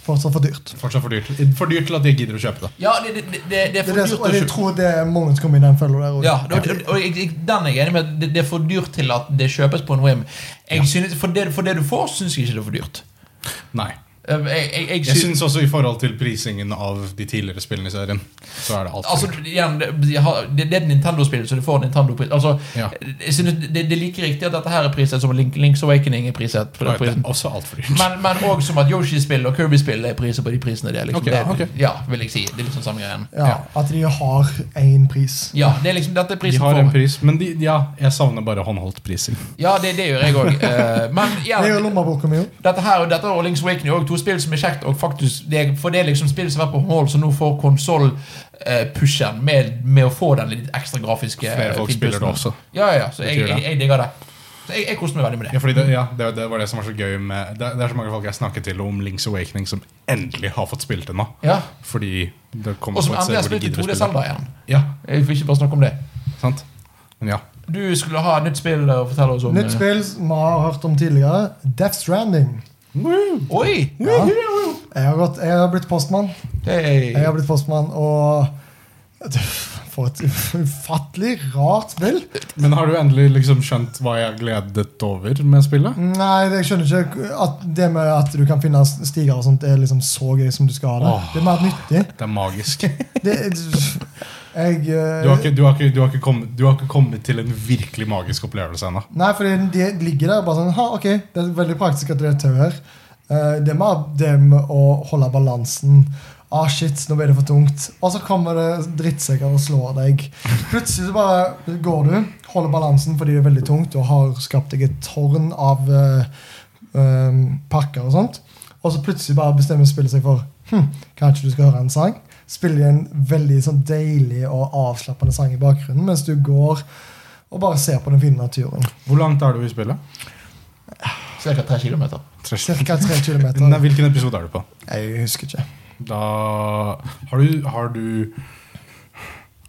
S2: Fortsatt for dyrt.
S3: fortsatt for dyrt. For dyrt til at jeg gidder å kjøpe det.
S1: ja det, det, det, det er
S2: Det
S1: for
S2: er det,
S1: dyrt
S2: som-
S1: å
S2: og jeg
S1: kjøpe.
S2: tror det er mange som kommer i den følga der også.
S1: Ja, og, og- og jeg, jeg- den er jeg enig med. Det, det er for dyrt til at det kjøpes på en whim. Jeg synes, for, det, for det du får, syns jeg ikke det er for dyrt.
S3: Nei.
S1: Eh, Jeg, jeg, jeg
S3: Jeg
S1: synes,
S3: syns også i forhold til prisingen av de tidligere spillene i serien, så er det alt for
S1: Altså,
S3: dyrt.
S1: igjen, det, jeg har- det det er et Nintendo-spill, så du får en Nintendo-pris. Altså,
S3: Ja.
S1: jeg synes det, det er like riktig at dette her er priset som Link, Link's Awakening er priset. På den
S3: Det er
S1: prisen.
S3: også alt for dyrt.
S1: Men, men også som at Yoshi-spill og Kirby-spill er priser på de prisene det er. Liksom.
S3: Ok,
S1: det,
S3: ok.
S1: Ja, vil jeg si. Det er liksom samme greien.
S2: Ja, At de har én pris.
S1: Ja, det er liksom, dette er
S3: de
S1: prisen
S3: har en
S1: for
S3: pris, men de, ja, jeg savner bare håndholdt prising.
S1: Ja, det, det gjør jeg òg. men ja,
S2: Det er jo lommeboka mi, jo.
S1: Dette her, dette og Link's Awakening er også to spill som er kjekt, og faktisk, det, er- for det er liksom spill som har vært på mål, som nå får konsoll-pushen med, med å få den litt ekstra grafiske
S3: Flere folk spiller det
S1: finpussen.
S3: også.
S1: Ja, ja, så jeg,
S3: Betyr det.
S1: jeg, jeg digger det. Så jeg, jeg koste meg veldig med
S3: Ja,
S1: det.
S3: fordi det, ja, det, det var det som var så gøy med det, det er så mange folk jeg snakker til om Links Awakening, som endelig har fått spilt det nå.
S1: Ja.
S3: Fordi det kommer
S1: Og som
S3: på et
S1: endelig
S3: sted
S1: har
S3: hvor de
S1: spilt i
S3: gidder å
S1: 2D
S3: spille.
S1: Zelda igjen.
S3: Ja,
S1: Jeg vil ikke bare snakke om det.
S3: sant? Men ja.
S1: Du skulle ha et nytt spill å fortelle
S3: Sånn,
S1: oss om.
S2: Nytt spill som vi har hørt om tidligere. Death Stranding.
S1: eh, Oi!
S2: Ja. Jeg, har gått, jeg har blitt postmann.
S1: Hey.
S2: Jeg har blitt postmann, og For et ufattelig rart spill.
S3: Men har du endelig liksom skjønt hva jeg gledet over med spillet?
S2: Nei, jeg skjønner ikke at det med at du kan finne stiger og sånt, er liksom så gøy som du skal ha det.
S3: Åh.
S2: Det er mer nyttig.
S3: Det er magisk.
S2: Det, jeg eh,
S3: Du har ikke, du har ikke, du har ikke, kommet, du har ikke kommet til en virkelig magisk opplevelse ennå.
S2: Nei, fordi de ligger der og bare sånn ha, Ok, det er veldig praktisk at det er tau her. Eh, det med det med å holde balansen. Ah, shit, nå ble det for tungt. Og så kommer det drittsekker og slår deg. Plutselig så bare går du, holder balansen fordi det er veldig tungt, og har skapt deg et tårn av eh, eh, pakker og sånt. Og så plutselig bare bestemmer spillet seg for hm, Kanskje du skal høre en sang? Spiller en veldig sånn deilig og avslappende sang i bakgrunnen mens du går og bare ser på den fine naturen.
S3: Hvor langt er du i spillet?
S1: Cirka tre kilometer.
S2: Cirka tre kilometer.
S3: Nei, hvilken episode er du på?
S2: Jeg husker ikke.
S3: Da Har du, har du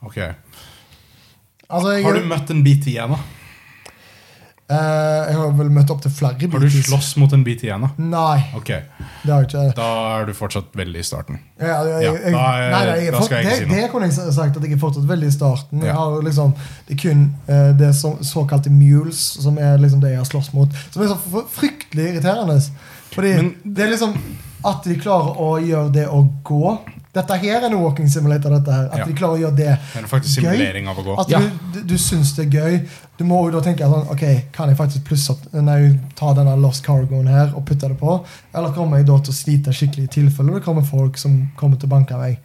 S3: Ok.
S2: Altså, jeg,
S3: Har du møtt en BT ennå?
S2: eh, jeg har vel møtt opp til flere
S3: Har du
S2: BTs.
S3: slåss mot en BT ennå?
S2: Nei,
S3: Ok,
S2: det har jeg ikke.
S3: da er du fortsatt veldig i starten.
S2: Jeg, jeg,
S3: Ja,
S2: jeg, jeg,
S3: da
S2: nei,
S3: er-
S2: nei, jeg, er
S3: da skal jeg
S2: fort-
S3: ikke si noe.
S2: det, det kunne jeg s- sagt at jeg er fortsatt veldig i starten. Jeg
S3: Ja.
S2: har liksom, det er kun eh, det så, såkalte mules som er liksom det jeg har slåss mot. Som er så fr- fryktelig irriterende. Fordi
S3: Men-
S2: det er liksom at de klarer å gjøre det å gå. Dette her er en walking simulator. dette her At
S3: Ja.
S2: de klarer å gjøre det
S3: Det er faktisk
S2: Gøy.
S3: simulering av å gå.
S2: At
S1: Ja.
S2: du, du, du syns det er gøy. Du må jo da tenke sånn Ok, kan jeg faktisk plusse opp Nei, ta denne lost cargoen her og putte det på? Eller kommer jeg da til å slite skikkelig i tilfelle det kommer folk som kommer til å banke meg?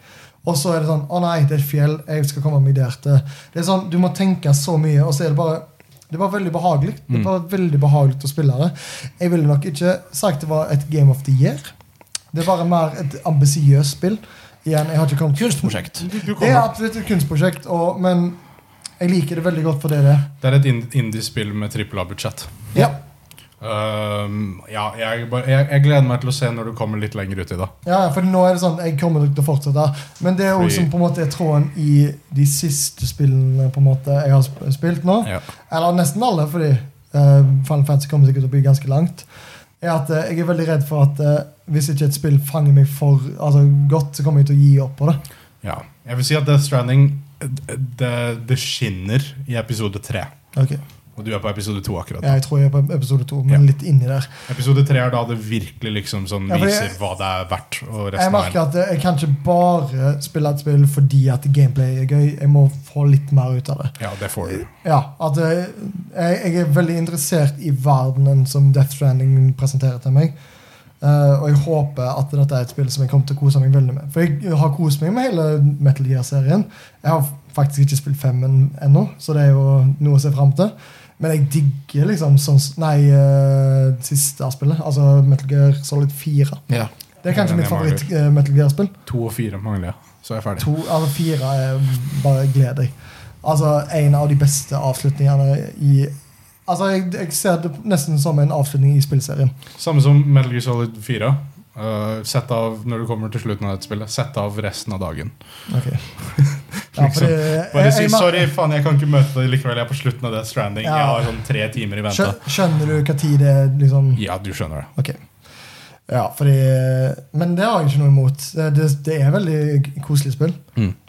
S2: Og så er det sånn Å nei, det er et fjell. Jeg skal komme meg der til. Det er sånn, Du må tenke så mye, og så er det bare det var veldig behagelig Det var veldig behagelig å spille det. Jeg ville nok ikke sagt det var et Game of the Year. Det er bare mer et ambisiøst spill. Igjen, jeg har ikke kommet
S1: Kunstprosjekt.
S3: Du
S2: det er
S3: kommer.
S2: absolutt et kunstprosjekt, og, men Jeg liker det veldig godt for det det er.
S3: Det er et ind- indie-spill med trippel A-budsjett.
S2: Ja.
S3: Ehm, ja, jeg, bare, jeg, jeg gleder meg til å se når du kommer litt lenger ut i det.
S2: ja, for nå er det sånn Jeg kommer nok til å fortsette. Men det er jo
S3: Fordi-
S2: som på en måte er tråden i de siste spillene på en måte jeg har sp- spilt nå.
S3: Ja.
S2: Eller nesten alle, fordi eh, Final Fantasy kommer sikkert til å bli ganske langt. Er at eh, Jeg er veldig redd for at eh, hvis ikke et spill fanger meg for altså, godt, så kommer jeg til å gi opp på det.
S3: Ja. Jeg vil si at Death Stranding det, det- det skinner i episode tre.
S2: Ok,
S3: Og du er på episode to akkurat.
S2: Jeg tror jeg er på episode to, men
S3: Ja.
S2: litt inni der.
S3: Episode tre er da det virkelig liksom sånn
S2: Ja, for jeg-
S3: viser hva det er verdt. Og
S2: Jeg
S3: resten
S2: merker
S3: er
S2: at eh, jeg kan ikke bare spille et spill fordi at gameplay er gøy. Jeg må få litt mer ut av det.
S3: Ja, det får du.
S2: Ja, at eh, jeg, jeg er veldig interessert i verdenen som Death Stranding presenterer til meg. Eh, og jeg håper at dette er et spill som jeg kommer til å kose meg veldig med. For jeg har kost meg med hele Metal Gear-serien. Jeg har faktisk ikke spilt femmen ennå, så det er jo noe å se fram til. Men jeg digger liksom sånn s- Nei, eh, siste spillet. Altså Metal Gear Solid 4.
S1: Ja.
S2: Det er kanskje
S3: Den
S2: mitt
S3: jeg mangler.
S2: favoritt-Metal Gear-spill.
S3: To og fire mangler jeg. Så er jeg ferdig.
S2: To eller fire er bare gled deg. Altså, en av de beste avslutningene i Altså, jeg, jeg ser det nesten som en avslutning i spillserien.
S3: Samme som Metal Gear Solid 4. Eh, sett av når du kommer til slutten av dette spillet. Sett av resten av dagen.
S2: Ok. [laughs] Ja, for det,
S3: Liksom. Bare si
S2: Eh, jeg- jeg-
S3: 'sorry, faen, jeg kan ikke møte deg likevel'. Jeg er på slutten av Death Stranding.
S2: Ja.
S3: Jeg har sånn tre timer i vente.
S2: Skjø- Skjønner du hva tid det er, liksom?
S3: Ja, du skjønner det.
S2: Ok. Ja, fordi Men det har jeg ikke noe imot. Det, det, det er veldig koselig spill.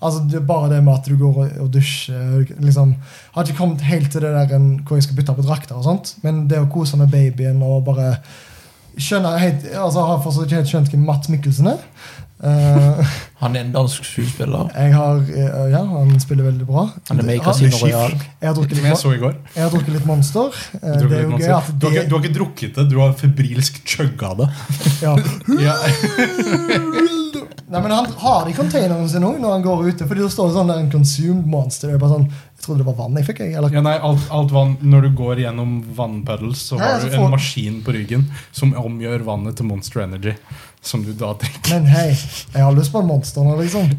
S2: Altså, det er Bare det med at du går og, og dusjer og liksom, Har ikke kommet helt til det der en, hvor jeg skal bytte på drakter, og sånt men det å kose med babyen og bare skjønne helt, altså, Jeg har fortsatt ikke helt skjønt hvem Matt Mikkelsen er. Eh,
S1: Han er en dansk skuespiller.
S2: jeg har, eh, ja, Han spiller veldig bra.
S1: Han er med i
S2: Ja,
S1: Casino
S3: Skift.
S1: Royal.
S2: Jeg har drukket
S3: Som jeg
S2: litt,
S3: så i går.
S2: mon- jeg har drukket litt Monster. Eh,
S3: Du,
S2: det er jo gøy at
S3: du, har ikke, du
S2: det
S3: har ikke drukket det, du har febrilsk chugga det.
S2: ja.
S3: Ja. [laughs]
S2: Nei, men Han har det i containeren sin òg når han går ute. Fordi det står sånn der en consumed monster. Jeg, bare sånn, jeg trodde det var vann jeg fikk. Jeg, eller
S3: Ja, nei, alt, alt vann, når du går gjennom vannpuddles, så
S2: Nei,
S3: har
S2: altså,
S3: du en
S2: for-
S3: maskin på ryggen som omgjør vannet til Monster Energy. Som du da drikker.
S2: Men hei, jeg har lyst på en monster nå, liksom.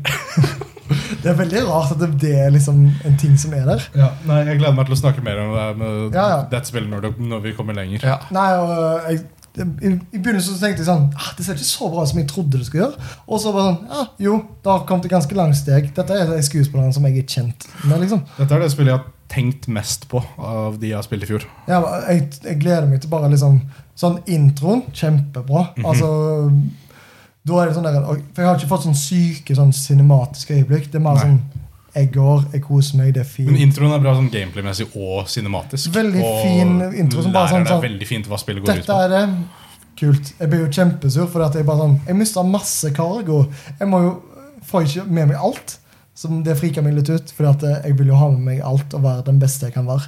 S2: [laughs] Det er veldig rart at det, det er liksom en ting som er der.
S3: Ja, nei, jeg gleder meg til å snakke mer om det her med
S2: Ja, ja.
S3: dette spillet når, det- når vi kommer lenger.
S1: Ja.
S2: Nei, og øh, jeg, i, I begynnelsen så tenkte jeg sånn ah, Det ser ikke så bra ut som jeg trodde det skulle gjøre. Og så bare sånn ja, Jo, det har kommet et ganske langt steg. Dette er de skuespillerne som jeg er kjent med. liksom
S3: Dette er det spillet jeg har tenkt mest på av de jeg har spilt i fjor.
S2: Ja, men jeg, jeg gleder meg til bare liksom Sånn introen, kjempebra.
S3: Mhm.
S2: Altså Da er det sånn der For jeg har ikke fått sånn syke sånn cinematiske øyeblikk. Det er mer
S3: Nei.
S2: sånn Jeg går, jeg koser meg, det er
S3: Men
S2: fint.
S3: introen er bra sånn gameplay-messig og cinematisk.
S2: Veldig
S3: og
S2: fin intro som bare
S3: lærer
S2: sånn-
S3: deg
S2: sånn-
S3: veldig fint hva spillet går ut
S2: Dette
S3: på.
S2: er det. Kult. Jeg blir jo kjempesur, for at jeg bare sånn Jeg mista masse cargo. Jeg må jo får ikke med meg alt. Så det friker meg litt ut, for at eh, jeg vil jo ha med meg alt og være den beste jeg kan være.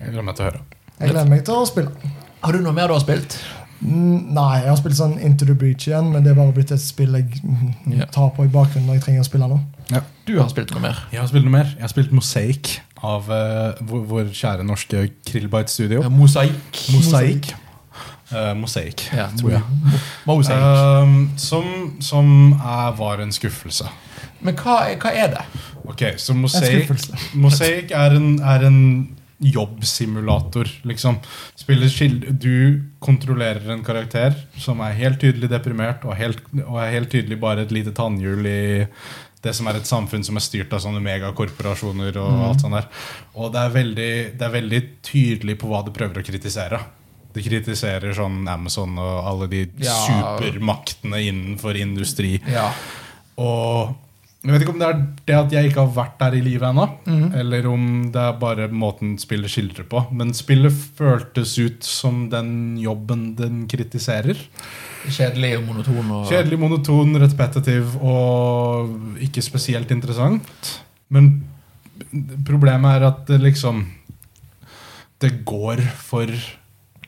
S3: Jeg gleder meg til å høre.
S2: Jeg gleder meg til å spille.
S1: Har du noe mer du har spilt?
S2: Mm, Nei, jeg har spilt sånn Into the Breach igjen, men det er bare blitt et spill jeg mm,
S1: Ja.
S2: tar på i bakgrunnen når jeg trenger å spille nå.
S1: Du har spilt noe mer.
S3: Jeg har spilt noe mer. Jeg har spilt Mosaic av eh, vår, vår kjære norske Krillbite Studio.
S1: Mosaikk.
S3: Mosaikk. Eh, Mosaic,
S1: Ja,
S3: tror jeg.
S1: Mosaikk.
S3: Ehm, som som er, var en skuffelse.
S1: Men hva er, hva er det?
S3: Ok, så Mosaic,
S2: En skuffelse.
S3: Mosaic er en, er en jobbsimulator, liksom. Spiller skil- du kontrollerer en karakter som er helt tydelig deprimert, og, helt, og er helt tydelig bare et lite tannhjul i det som er et samfunn som er styrt av sånne megakorporasjoner og alt sånt der. Og det er, veldig, det er veldig tydelig på hva det prøver å kritisere. Det kritiserer sånn Amazon og alle de
S1: Ja.
S3: supermaktene innenfor industri.
S1: Ja.
S3: Og jeg vet ikke om det er det at jeg ikke har vært der i livet ennå, eller om det er bare måten spillet skildrer på. Men spillet føltes ut som den jobben den kritiserer.
S1: Kjedelig og monoton og
S3: Kjedelig, monoton, repetitiv og ikke spesielt interessant. Men problemet er at det liksom Det går for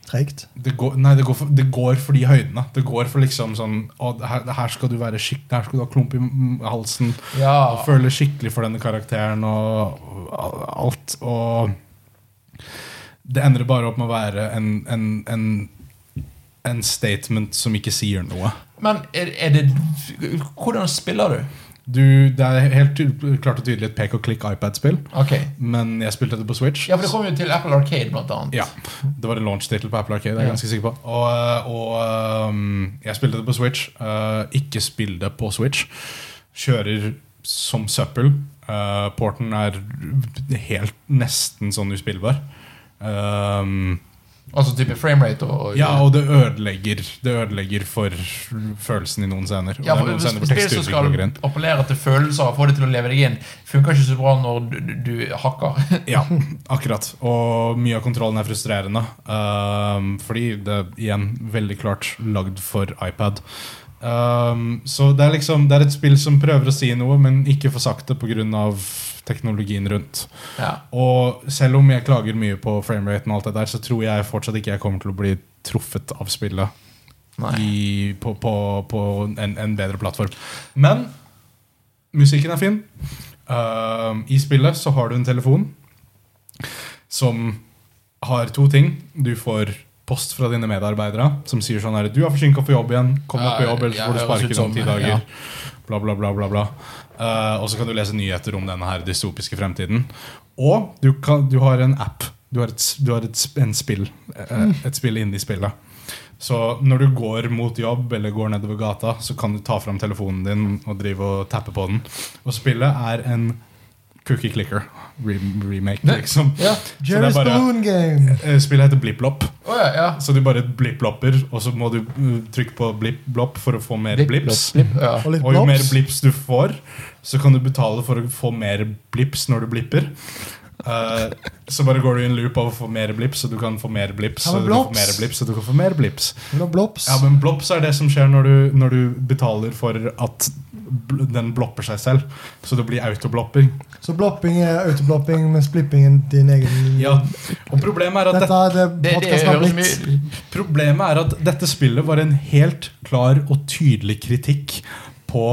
S2: Tregt.
S3: det går, nei, det går, for, det går for de høydene. Det går for liksom sånn å, her, her skal du være skikkelig, her skal du ha klump i m- halsen.
S1: Ja.
S3: Og føle skikkelig for denne karakteren og og alt. Og det ender bare opp med å være en, en, en, en statement som ikke sier noe.
S1: Men er, er det Hvordan spiller du?
S3: Du, det er helt ty- klart og tydelig et pek og klikk iPad-spill,
S1: Ok.
S3: men jeg spilte det på Switch.
S1: Ja, for det kom jo til Apple Arcade, blant annet.
S3: Ja, Det var en launch-tittel på Apple Arcade. Jeg er
S1: Ja.
S3: ganske sikker på Og, og um, jeg spilte det på Switch. Uh, ikke spill det på Switch. Kjører som søppel. Uh, porten er helt nesten sånn uspillbar. Um,
S1: Altså type framerate og, og
S3: ja, og det ødelegger Det ødelegger for følelsen i noen scener. Og
S1: Ja,
S3: det
S1: for
S3: er noen scener hvor
S1: Spill som
S3: teksturen
S1: skal
S3: ikke går inn.
S1: appellere til følelser og få det til å leve deg inn, funker ikke så bra når du, du, du hakker. [laughs]
S3: Ja, akkurat. Og mye av kontrollen er frustrerende. Ehm, fordi det er igjen veldig klart lagd for iPad. Ehm, så det er liksom Det er et spill som prøver å si noe, men ikke får sagt det pga. teknologien rundt.
S1: Ja.
S3: Og selv om jeg klager mye på frameraten, og alt det der så tror jeg fortsatt ikke jeg kommer til å bli truffet av spillet
S1: Nei.
S3: i, på, på, på en, en bedre plattform. Men musikken er fin. Ehm, I spillet så har du en telefon som har to ting. Du får post fra dine medarbeidere som sier sånn her Du er forsinka på jobb igjen. Kom deg
S1: Ja,
S3: på jobb, ellers
S1: ja,
S3: får du
S1: høres ut
S3: sparken
S1: som-
S3: om ti dager.
S1: ja.
S3: Bla, bla, bla, bla, bla. Eh, og så kan du lese nyheter om denne her dystopiske fremtiden. Og du, kan, du har en app. Du har et, s- du har et, s- en spill, eh,
S1: Mm.
S3: et spill inni spillet. Så når du går mot jobb eller går nedover gata, så kan du ta fram telefonen din og drive og tappe på den. Og spillet er en cookie clicker re- remake, liksom.
S1: Ja.
S2: Jerry
S3: Så det er bare-
S2: Spoon Game.
S3: Eh, Spillet heter Blipplopp,
S1: Å ja, ja.
S3: så du bare blipplopper, og så må du mm, trykke på blipplopp for å få mer blips.
S1: Blipp, ja.
S2: Og litt
S3: Og jo mer
S2: blobs.
S3: blips du får, så kan du betale for å få mer blips når du blipper. Eh, så bare går du i en loop av å få mer blips, og du kan få mer blips,
S2: Ja, men
S3: og du kan få
S2: blobs.
S3: mer blips, og du kan få mer blips.
S2: Det var blobs.
S3: Ja, men blops er det som skjer når du, når du betaler for at bl- den blopper seg selv. Så det blir autoblopping.
S2: Så blopping er autoblopping, mens blipping er din egen
S3: Ja. Og problemet er at
S2: Dette er det
S1: Det, det
S2: podkasten har
S1: høres
S2: blitt.
S1: mye
S3: Problemet er at dette spillet var en helt klar og tydelig kritikk på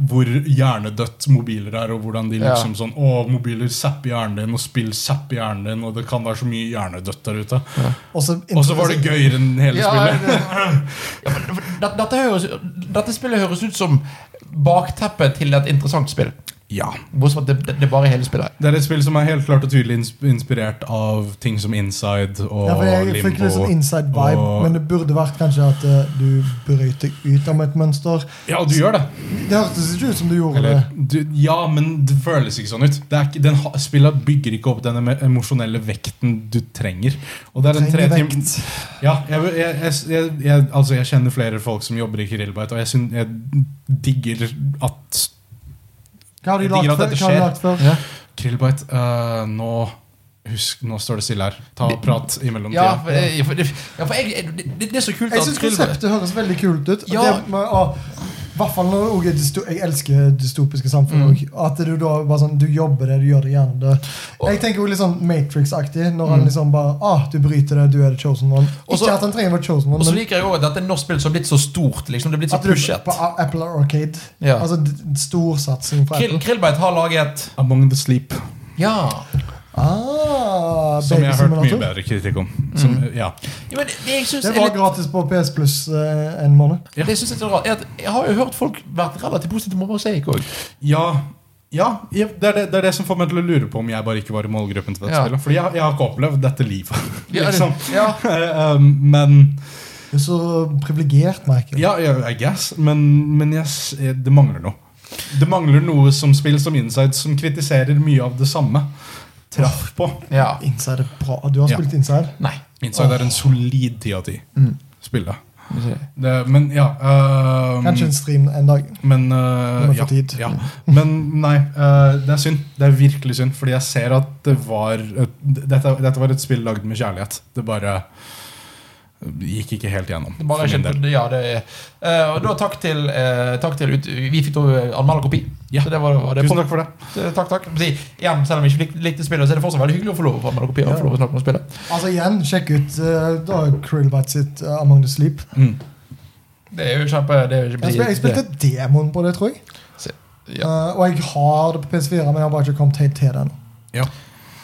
S3: hvor hjernedødt mobiler er, og hvordan de
S1: Ja.
S3: liksom sånn Å, mobiler zapper hjernen din, og spill zapper hjernen din, og det kan være så mye hjernedødt der ute.
S2: Også
S3: Og så var det gøyere enn hele
S1: Ja,
S3: spillet.
S1: det- ja, men det- dette, høres, dette spillet høres ut som bakteppet til et interessant spill.
S3: Ja.
S1: Bortsett fra at det, det, det er bare hele spillet.
S3: Det er et spill som er helt klart og tydelig ins- inspirert av ting som Inside og
S2: Ja, for jeg fikk
S3: Limbo.
S2: litt sånn inside vibe,
S3: og-
S2: men det burde vært kanskje at eh, du brøyter ut av et mønster.
S3: Ja, du gjør det.
S2: Det hørtes ikke ut som du gjorde
S3: Eller,
S2: det.
S3: du, ja, men det føles ikke sånn ut. Det er ikke, den, ha- spillet bygger ikke opp den emo- emosjonelle vekten du trenger. Og det er en tre
S2: Trenger
S3: tim-
S2: vekt.
S3: ja, jeg, jeg, jeg, jeg, jeg, altså, jeg kjenner flere folk som jobber i Krillbite, og jeg, syn, jeg digger at
S2: Hva har de
S3: Jeg
S2: lagt
S3: digger at
S2: før? Hva
S3: dette
S2: har de
S3: skjer.
S2: lagt før?
S3: Krillbite øh, nå, husk, nå står det stille her. Ta og prat imellom
S1: Ja,
S3: tida.
S1: for, ja, for, ja, for jeg, det, det- det er så kult
S2: Jeg syns konseptet høres veldig kult ut. og
S1: Ja.
S2: det med å- i hvert fall når det også er dysto Jeg elsker dystopiske samfunn.
S3: Mm.
S2: og At du da bare sånn, du jobber det, du gjør det gjerne det. Jeg tenker jo litt sånn Matrix-aktig. Når
S3: Mm.
S2: han liksom bare ah, Du bryter det, du er the chosen one.
S1: Og så-
S2: Ikke at han trenger å være chosen one,
S1: Og så
S2: men
S1: liker jeg også at dette er et norsk spill som har blitt så stort. liksom Det er blitt så
S2: at du
S1: pushet
S2: på A- Apple Arcade
S1: Ja.
S2: Altså d- storsatsing fra
S1: Krill,
S2: Apple.
S1: Krillbite har laget
S3: Among the Sleep,
S1: Ja.
S2: Ah,
S3: som jeg har hørt mye
S2: babysimulator.
S3: bedre kritikk om. Som, ja.
S1: ja men det, jeg synes
S2: Det
S1: er
S2: var
S1: litt-
S2: gratis på PS Pluss eh, en måned.
S3: Ja.
S1: Det jeg synes er så rart, er at jeg har jo hørt folk vært relativt positive til Mosaic òg.
S3: Ja, ja ja, det, er det, det er det som får meg til å lure på om jeg bare ikke var i målgruppen til dette
S1: Ja.
S3: spillet. Fordi jeg, jeg har ikke opplevd dette livet. liksom.
S1: [laughs] Ja,
S3: Um, men
S2: Du er så privilegert, merker jeg.
S3: Ja, ja, I guess. Men, men jeg, s- det mangler noe. Det mangler noe som spill som Inside som kritiserer mye av det samme. Traff på.
S1: ja.
S2: Inside er bra. Du har
S3: Ja.
S2: spilt Inside?
S1: Nei.
S3: Inside er en solid ti av ti.
S1: Mm.
S3: Spillet. Det, men ja um,
S2: Kanskje en stream en dag.
S3: Men eh,
S2: man får
S3: ja,
S2: tid.
S3: ja. Men nei, eh, det er synd. Det er virkelig synd, fordi jeg ser at det var et, dette, dette var et spill lagd med kjærlighet. Det bare gikk ikke helt gjennom.
S1: Det er bare
S3: for min
S1: ikke,
S3: del.
S1: ja, det er, eh, og da takk til, eh, takk til ut, Vi fikk da eh, anmelderkopi.
S3: Ja.
S1: Så det var, var det
S3: Tusen takk for det.
S1: Eh, Takk, takk. Men si, Igjen, selv om jeg ikke lik, likte spillet, så er det fortsatt veldig hyggelig å få lov å få anmelderkopi. Og få lov å snakke om spillet
S2: Altså igjen, sjekk ut uh, da Krillbite sitt eh, Among the Sleep.
S1: Det er jo kjempe det er jo
S2: Jeg, spil, jeg spilte demoen på det, tror jeg.
S1: det- ja.
S2: Eh, og jeg har det på PS4, men jeg har bare ikke kommet helt til det ennå.
S3: Ja.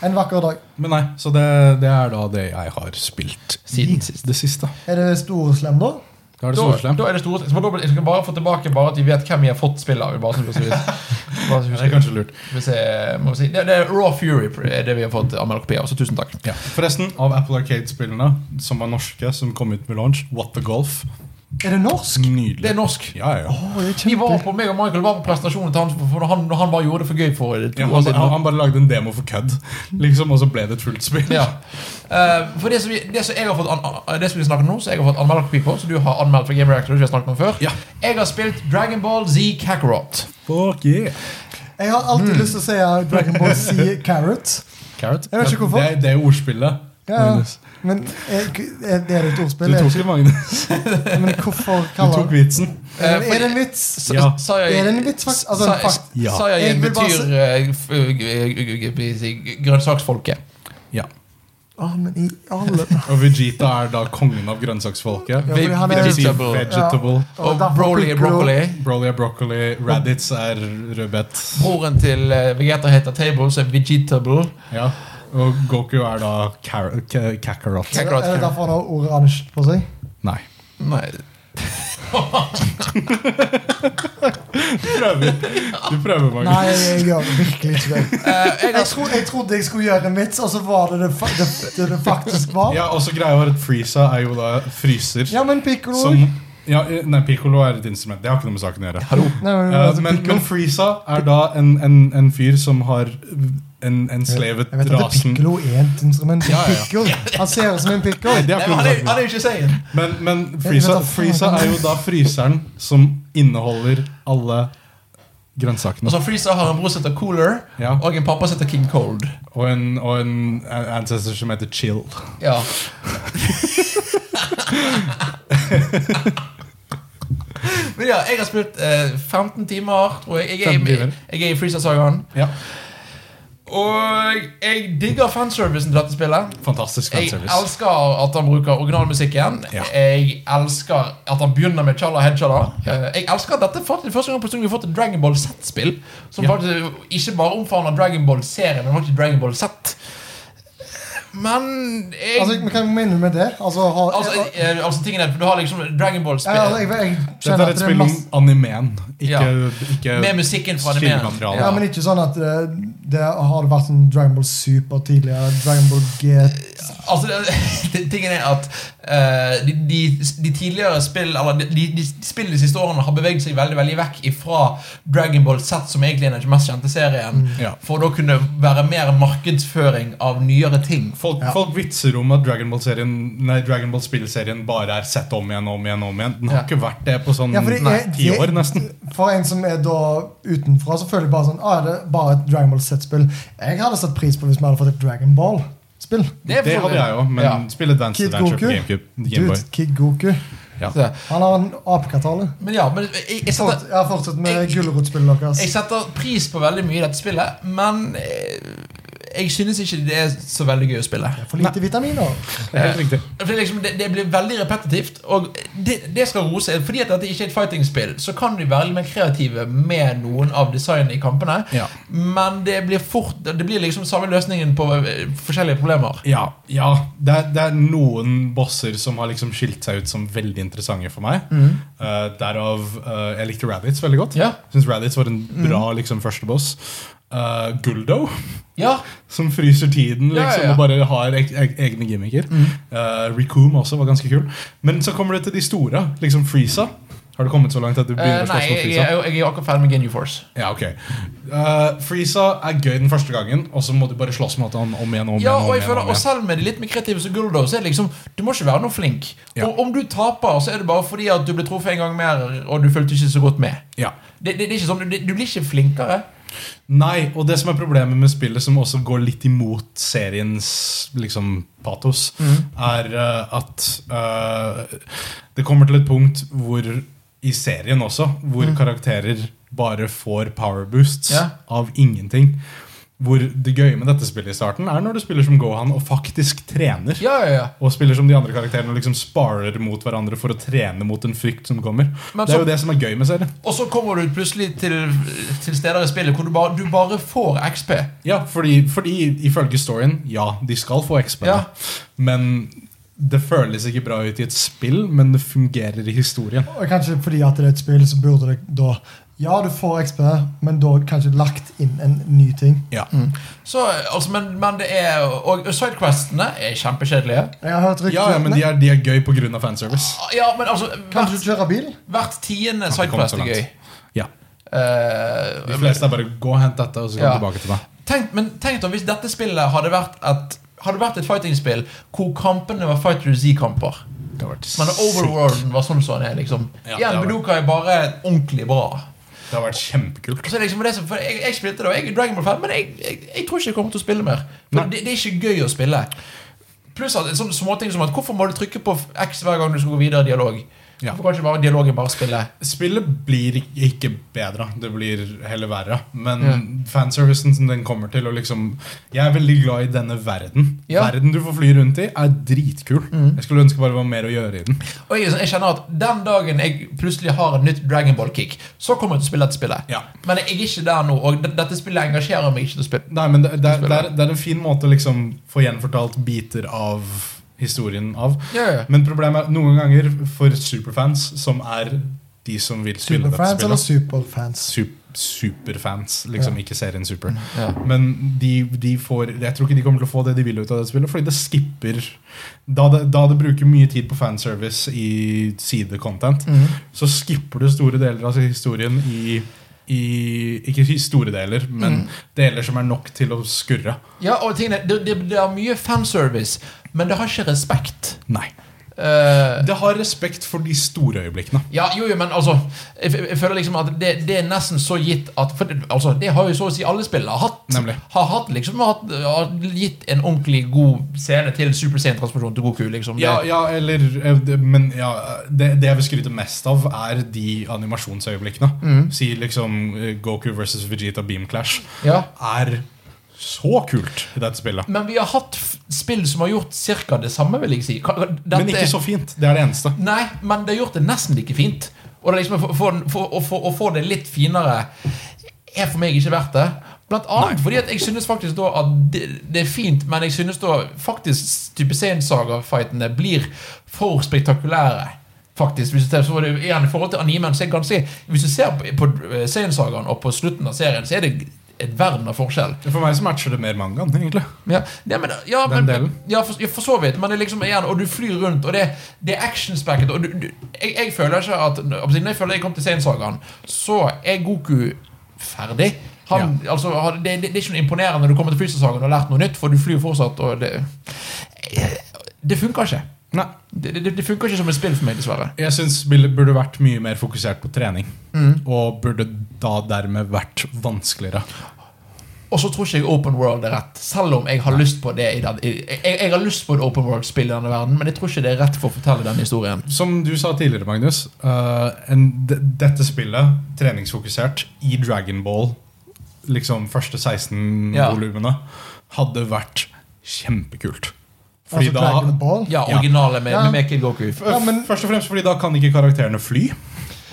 S2: En vakker dag.
S3: Men nei, så det, det er da det jeg har spilt
S1: Siden
S3: i
S1: sist.
S3: det siste.
S2: Er det Storeslem, da?
S3: Da er det
S1: Da,
S3: Solslem.
S1: da er det store, så må dobbelt, jeg skal bare få tilbake bare at vi vet hvem vi har fått spill av. Bare så vi skal-
S3: [laughs]
S1: bare så vi
S3: Det er
S1: skal-
S3: kanskje lurt.
S1: Skal vi se, må vi si. det, det er Raw Fury, er det vi har fått anmeldt kopi av. Så tusen takk.
S3: Ja. Forresten, av Apple Arcade-spillene som var norske, som kom ut med launch, What the Golf.
S2: Er det norsk?
S3: Nydelig.
S1: Det er norsk.
S3: Ja, ja.
S2: Å, det er
S1: Vi var
S2: kjempe...
S1: på, meg og Michael var på presentasjonen til han for når han, når han bare gjorde det for gøy for to
S3: Ja,
S1: år
S3: han,
S1: siden.
S3: han, han bare lagde en demo for kødd, liksom, og så ble det et fullt spill.
S1: Ja. Eh, for det som, vi, det som jeg har fått an, an- Det som vi snakker om nå, som jeg har fått anmelderkopi på, som du har anmeldt for Game Reactor, som vi har snakket om før
S3: Ja.
S1: Jeg har spilt Dragon Ball Z Kakarot.
S3: Fuck yeah.
S2: Jeg har alltid
S3: Mm.
S2: lyst til å si eh, Dragon Ball
S3: [laughs]
S2: Z Carrot.
S3: Carrot.
S2: Jeg vet ikke hvorfor.
S3: Det, er- det er ordspillet.
S2: Ja, ja.
S3: Magnus.
S2: men jeg, er det er et
S3: Du
S2: ordspill. Jeg,
S3: tok det,
S2: [laughs]
S3: Magnus.
S2: men hvorfor
S3: Du
S2: kaller
S3: tok vitsen.
S2: Er
S1: Eh,
S2: det- er det en vits?
S1: Sa-
S3: Ja.
S1: sa jeg-
S2: Er det en vits, faktisk? Altså,
S1: sa-
S2: fakt-
S1: sa-
S3: Ja.
S1: Sa jeg
S2: Jeg vil bare
S1: betyr eh, f- eh, g- g- g- grønnsaksfolket.
S3: Ja.
S2: Å, men i alle
S3: Og Vegeta er da kongen av grønnsaksfolket.
S2: Ja, fordi han
S3: Det
S2: er-
S3: vil si
S1: Vegetable.
S3: vegetable.
S1: Og
S2: derfor
S1: Broly er
S2: Piccolo-
S1: broccoli.
S3: Broly er broccoli. Raditz er rødbet.
S1: Broren til eh, Vegeta heter Table, så er vegetable.
S3: Ja. Og Goku er da car- ka- kakarot.
S1: Ka-
S2: Er det derfor han har oransje på seg?
S3: Nei.
S1: Nei.
S3: Prøver. Du prøver, Magnus.
S2: Nei, jeg gjør virkelig ikke det.
S1: Eh, jeg
S2: Jeg
S1: har
S2: trodde jeg, trodde jeg skulle gjøre en vits, og så var det det, fa det, det, det faktisk var.
S3: Ja, og så greia var at Freeza er jo da fryser.
S2: Ja, men pikkolo
S3: Som ja, Nei, pikkolo er et instrument. Det har ikke noe med saken å gjøre.
S1: Hallo.
S2: Nei, men,
S3: Eh,
S2: altså,
S3: men,
S2: piccolo-
S3: men Freeza er da en, en, en fyr som har en, en slevet
S2: Jeg vet at det
S3: rasen
S2: pikkolo er et instrument.
S3: Ja, ja.
S2: Pickle. Han ser ut som en pikkolo.
S3: Nei, det
S1: Nei,
S3: har ikke
S1: men
S3: noe
S1: han er han er
S3: med saken å gjøre.
S1: jo ikke seien.
S3: Men, men
S2: Jeg
S3: Freeza,
S2: vet da faen.
S3: Freeza er jo da fryseren som inneholder alle grønnsakene.
S1: Altså Freezer har en bror som heter Cooler,
S3: Ja.
S1: og en pappa som heter King Cold.
S3: Og en, og en ancestor som heter Chill.
S1: Ja. Men ja, jeg har spilt eh, 15 timer, tror jeg. Jeg er,
S3: 15 timer.
S1: i- jeg er i Freezer-sagaen.
S3: Ja,
S1: Og jeg digger fanservicen til dette spillet.
S3: Fantastisk
S1: Jeg
S3: fanservice.
S1: elsker at han bruker originalmusikken.
S3: Ja.
S1: Jeg elsker at han begynner med Chala Hedchala. Jeg elsker at dette er faktisk første gang på stund vi har fått et Dragon Ball Z-spill. Som
S3: Ja.
S1: faktisk ikke bare omfavner Dragon Ball-serien, men faktisk Dragon Ball Z. Men jeg
S2: Altså, vi kan minne med det. Altså, har,
S1: Altså,
S2: jeg,
S1: eh, altså tingen er, for Du har liksom Dragon Ball-spill
S2: altså, jeg, jeg
S3: Dette
S2: kjenner
S3: er
S2: at
S3: et
S2: det er
S3: spill om
S2: masse
S3: animeen, ikke,
S1: Ja.
S3: ikke
S1: med musikken fra animeen.
S3: Kildemateriale.
S2: Ja, men ikke sånn at det, det har vært en Dragon Ball Super tidligere. Dragon Ball G
S1: Altså, det- [laughs] det- tingen er at eh, de, de, de tidligere spill Eller de, de spill de siste årene har beveget seg veldig veldig vekk ifra Dragon Ball Z, som egentlig er den mest kjente serien,
S2: Mm.
S3: Ja.
S1: for da kunne være mer markedsføring av nyere ting.
S3: Folk,
S2: Ja.
S3: folk vitser om at Dragon Ball-serien Nei, Dragon Ball-spillserien bare er sett om igjen om igjen. om igjen Den har
S1: Ja.
S3: ikke vært det på sånn
S2: Ja, fordi
S3: nei,
S2: jeg-
S3: ti
S2: jeg-
S3: år, nesten.
S2: For en som er da utenfra, så føler jeg bare sånn ah, det er bare et Dragon Ball Z-spill. Jeg hadde satt pris på hvis vi hadde fått et Dragon Ball-spill.
S1: er for
S3: Det
S1: så vidt-
S3: hadde jeg òg, men
S1: Ja.
S3: spill Advanced
S2: Kid
S3: Adventure
S2: Goku?
S3: på GameCube.
S2: Dude, [laughs]
S3: Gameboy.
S2: Kid Goku.
S3: Ja.
S1: Så-
S2: Han har en apekattale.
S1: Men ja, men jeg, jeg, setter,
S2: Fort, ja, fortsett med
S1: Jeg-
S2: gulrotspillet deres.
S1: jeg setter pris på veldig mye i dette spillet, men eh, jeg synes ikke det er så veldig gøy å spille.
S2: For lite vitaminer.
S3: Det er helt riktig.
S1: For det, er liksom, det, det blir veldig repetitivt, og det, det skal rose. Fordi at dette ikke er et fighting-spill, så kan de være litt mer kreative med noen av designene i kampene.
S3: Ja.
S1: Men det blir fort Det blir liksom samme løsningen på eh, forskjellige problemer.
S3: Ja, ja. Det, er, det er noen bosser som har liksom skilt seg ut som veldig interessante for meg. Eh, derav eh, Jeg likte Raditz veldig godt.
S1: Ja.
S3: Syns Raditz var en
S1: Mm.
S3: bra liksom, første boss. Eh, Guldo,
S1: Ja,
S3: [laughs] som fryser tiden
S1: Ja, ja,
S3: liksom,
S1: ja. Mm.
S3: og bare har e e egne gimmicker. Eh, Recoom også var ganske kul. Men så kommer det til de store. Liksom Freeza. Har du kommet så langt at du
S1: eh,
S3: begynner å
S1: Nei,
S3: slåss mot
S1: jeg, jeg,
S3: Freeza?
S1: jeg er akkurat ferdig med Genu Force.
S3: Ja, ok Eh, Freeza er gøy den første gangen, og så må du bare slåss mot han om igjen. om
S1: Ja,
S3: igjen, om
S1: og, jeg
S3: igjen,
S1: føler,
S3: om
S1: og
S3: igjen.
S1: selv med de litt mer kreative som Guldo, så er det liksom Du må ikke være noe flink.
S3: Ja.
S1: Og om du taper, så er det bare fordi at du ble truffet en gang mer, og du fulgte ikke så godt med.
S3: Ja.
S1: Det, det, det er ikke sånn, du, du blir ikke flinkere.
S3: Nei, og det som er problemet med spillet, som også går litt imot seriens liksom, patos,
S1: Mhm.
S3: er eh, at eh, det kommer til et punkt hvor i serien også, hvor karakterer bare får power boosts
S1: Mhm. Ja.
S3: av ingenting. Hvor det gøye med dette spillet i starten er når du spiller som Gohan og faktisk trener.
S1: Ja, ja, ja
S3: Og spiller som de andre karakterene og liksom sparer mot hverandre for å trene mot en frykt som kommer.
S1: Men
S3: det
S1: så-
S3: er jo det som er gøy med serien.
S1: Og så kommer du plutselig til, til steder i spillet hvor du bare, du bare får XP.
S3: Ja, fordi, fordi ifølge storyen, ja, de skal få XP.
S1: Ja.
S3: Men Det føles ikke bra ut i et spill, men det fungerer i historien.
S2: Og kanskje fordi at det er et spill, så burde det da Ja, du får XP, men da kanskje lagt inn en ny ting.
S3: Ja.
S1: Så, altså, men, men det er Og sidequestene er kjempekjedelige.
S2: Jeg har hørt rykter
S3: Ja, ja, men de er, de er gøy pga. fanservice.
S1: Ja, men altså
S2: Kan du
S1: Hvert,
S2: kjøre bil?
S1: hvert tiende
S3: Har ikke kommet så
S1: sidequest er gøy.
S3: langt. Ja.
S1: Eh,
S3: De fleste er bare 'gå og hent dette', og så kom
S1: Ja.
S3: tilbake til meg.
S1: tenk, men tenk da, hvis dette spillet hadde vært et hadde vært et fighting-spill hvor kampene var Fighter Z-kamper.
S3: Det har vært
S1: Men overworlden var sånn som den er. liksom
S3: Ja, det
S1: Igjen,
S3: var-
S1: Bedoka er bare ordentlig bra.
S3: sykt. Det har vært kjempekult.
S1: Og så er det liksom, for det som, for jeg, jeg spilte det, og jeg er Dragon Ball fan, men jeg, jeg, jeg tror ikke jeg kommer til å spille mer. For
S3: Nei.
S1: det, det er ikke gøy å spille. Pluss at en sånn småting som at hvorfor må du trykke på X hver gang du skal gå videre i dialog?
S3: Ja.
S1: Hvorfor kan ikke bare dialogen bare spille?
S3: Spillet blir ik- ikke bedre, det blir heller verre. Men
S1: Ja.
S3: fanservicen som den kommer til og liksom, Jeg er veldig glad i denne verden.
S1: Ja.
S3: Verden du får fly rundt i, er dritkul. Jeg skulle ønske bare det var mer å gjøre i den.
S1: Og jeg, er sånn- jeg kjenner at den dagen jeg plutselig har et nytt Dragon Ball-kick, så kommer jeg til å spille dette spillet.
S3: Ja.
S1: Men jeg er ikke der nå, og d- dette spillet engasjerer meg ikke til å spille.
S3: Nei, men det, det, er, det,
S1: Spiller.
S3: er, det er en fin måte å liksom få gjenfortalt biter av historien av.
S1: Ja, ja.
S3: Men problemet er noen ganger for superfans, som er de som vil spille
S2: Superfans
S3: dette
S2: eller
S3: spillet
S2: superfans?
S3: Sup- Superfans, liksom. Ikke serien Super.
S2: Mm.
S1: Ja.
S3: Men de, de får jeg tror ikke de kommer til å få det de vil ut av det spillet, fordi det skipper Da det, da det bruker mye tid på fanservice i sidecontent, så skipper du store deler av historien i i, ikke i store deler, men deler som er nok til å skurre.
S1: Ja, og tingene, det, det, det er mye fanservice, men det har ikke respekt.
S3: Nei.
S1: Eh,
S3: Det har respekt for de store øyeblikkene.
S1: Ja, jo, jo, men altså Jeg, jeg føler liksom at det, det er nesten så gitt at for, det- altså, Det har jo så å si alle spillere hatt.
S3: Nemlig.
S1: Har hatt liksom hatt, har gitt en ordentlig god scene til Super Saiyan-transformasjon til Goku. liksom
S3: Ja,
S1: det,
S3: ja, eller eh, det- Men ja, det, det jeg vil skryte mest av, er de animasjonsøyeblikkene. Si liksom eh, Goku versus Vegeta Beam Clash.
S1: ja.
S3: Er så kult i dette spillet.
S1: Men vi har hatt f- spill som har gjort ca. det samme, vil jeg si. Ka- ka- dette
S3: Men ikke så fint. Det er det eneste.
S1: er- Nei, men det har gjort det nesten like fint. Og det er liksom, å få- få- få- å få- å få det litt finere er for meg ikke verdt det. Blant annet fordi at jeg synes faktisk da at det, det er fint, men jeg synes da faktisk type Seinsaga-fightene blir for spektakulære. Faktisk, hvis du ser, så var det jo igjen I forhold til animen så er det ganske, Hvis du ser på, på eh, Sainsagaen og på slutten av serien, så er det et verden av forskjell.
S3: For meg så matcher det mer mangaen, egentlig.
S1: Ja, det, men, ja,
S3: Den
S1: men,
S3: delen.
S1: ja, for, ja, for så vidt. Men det er liksom igjen, og du flyr rundt, og det, det er actionspekket. Og du, du, jeg, jeg føler ikke at Når jeg føler jeg kom til Seinsagaen, så er Goku ferdig. Han, altså, har- det, det, det er ikke noe imponerende når du kommer til Freezer-sagaen og har lært noe nytt, for du flyr fortsatt, og det Det funker ikke.
S3: Nei.
S1: Det, det, det funker ikke som et spill for meg, dessverre.
S3: Jeg syns spillet burde vært mye mer fokusert på trening. Og burde da dermed vært vanskeligere.
S1: Og så tror ikke jeg Open World er rett, selv om jeg har lyst på det i den, i- jeg, jeg har lyst på et Open World-spill i denne verden, men jeg tror ikke det er rett for å fortelle den historien.
S3: Som du sa tidligere, Magnus. eh, en, de, dette spillet, treningsfokusert, i Dragonball, liksom første 16
S1: Ja.
S3: volumene, hadde vært kjempekult. Fordi
S2: Altså Dragon
S3: da
S2: Ball.
S1: Ja,
S3: Ja.
S1: originale med,
S2: Ja.
S1: med Make It Goku.
S2: Ja, men-
S3: Først og fremst fordi da kan ikke karakterene fly,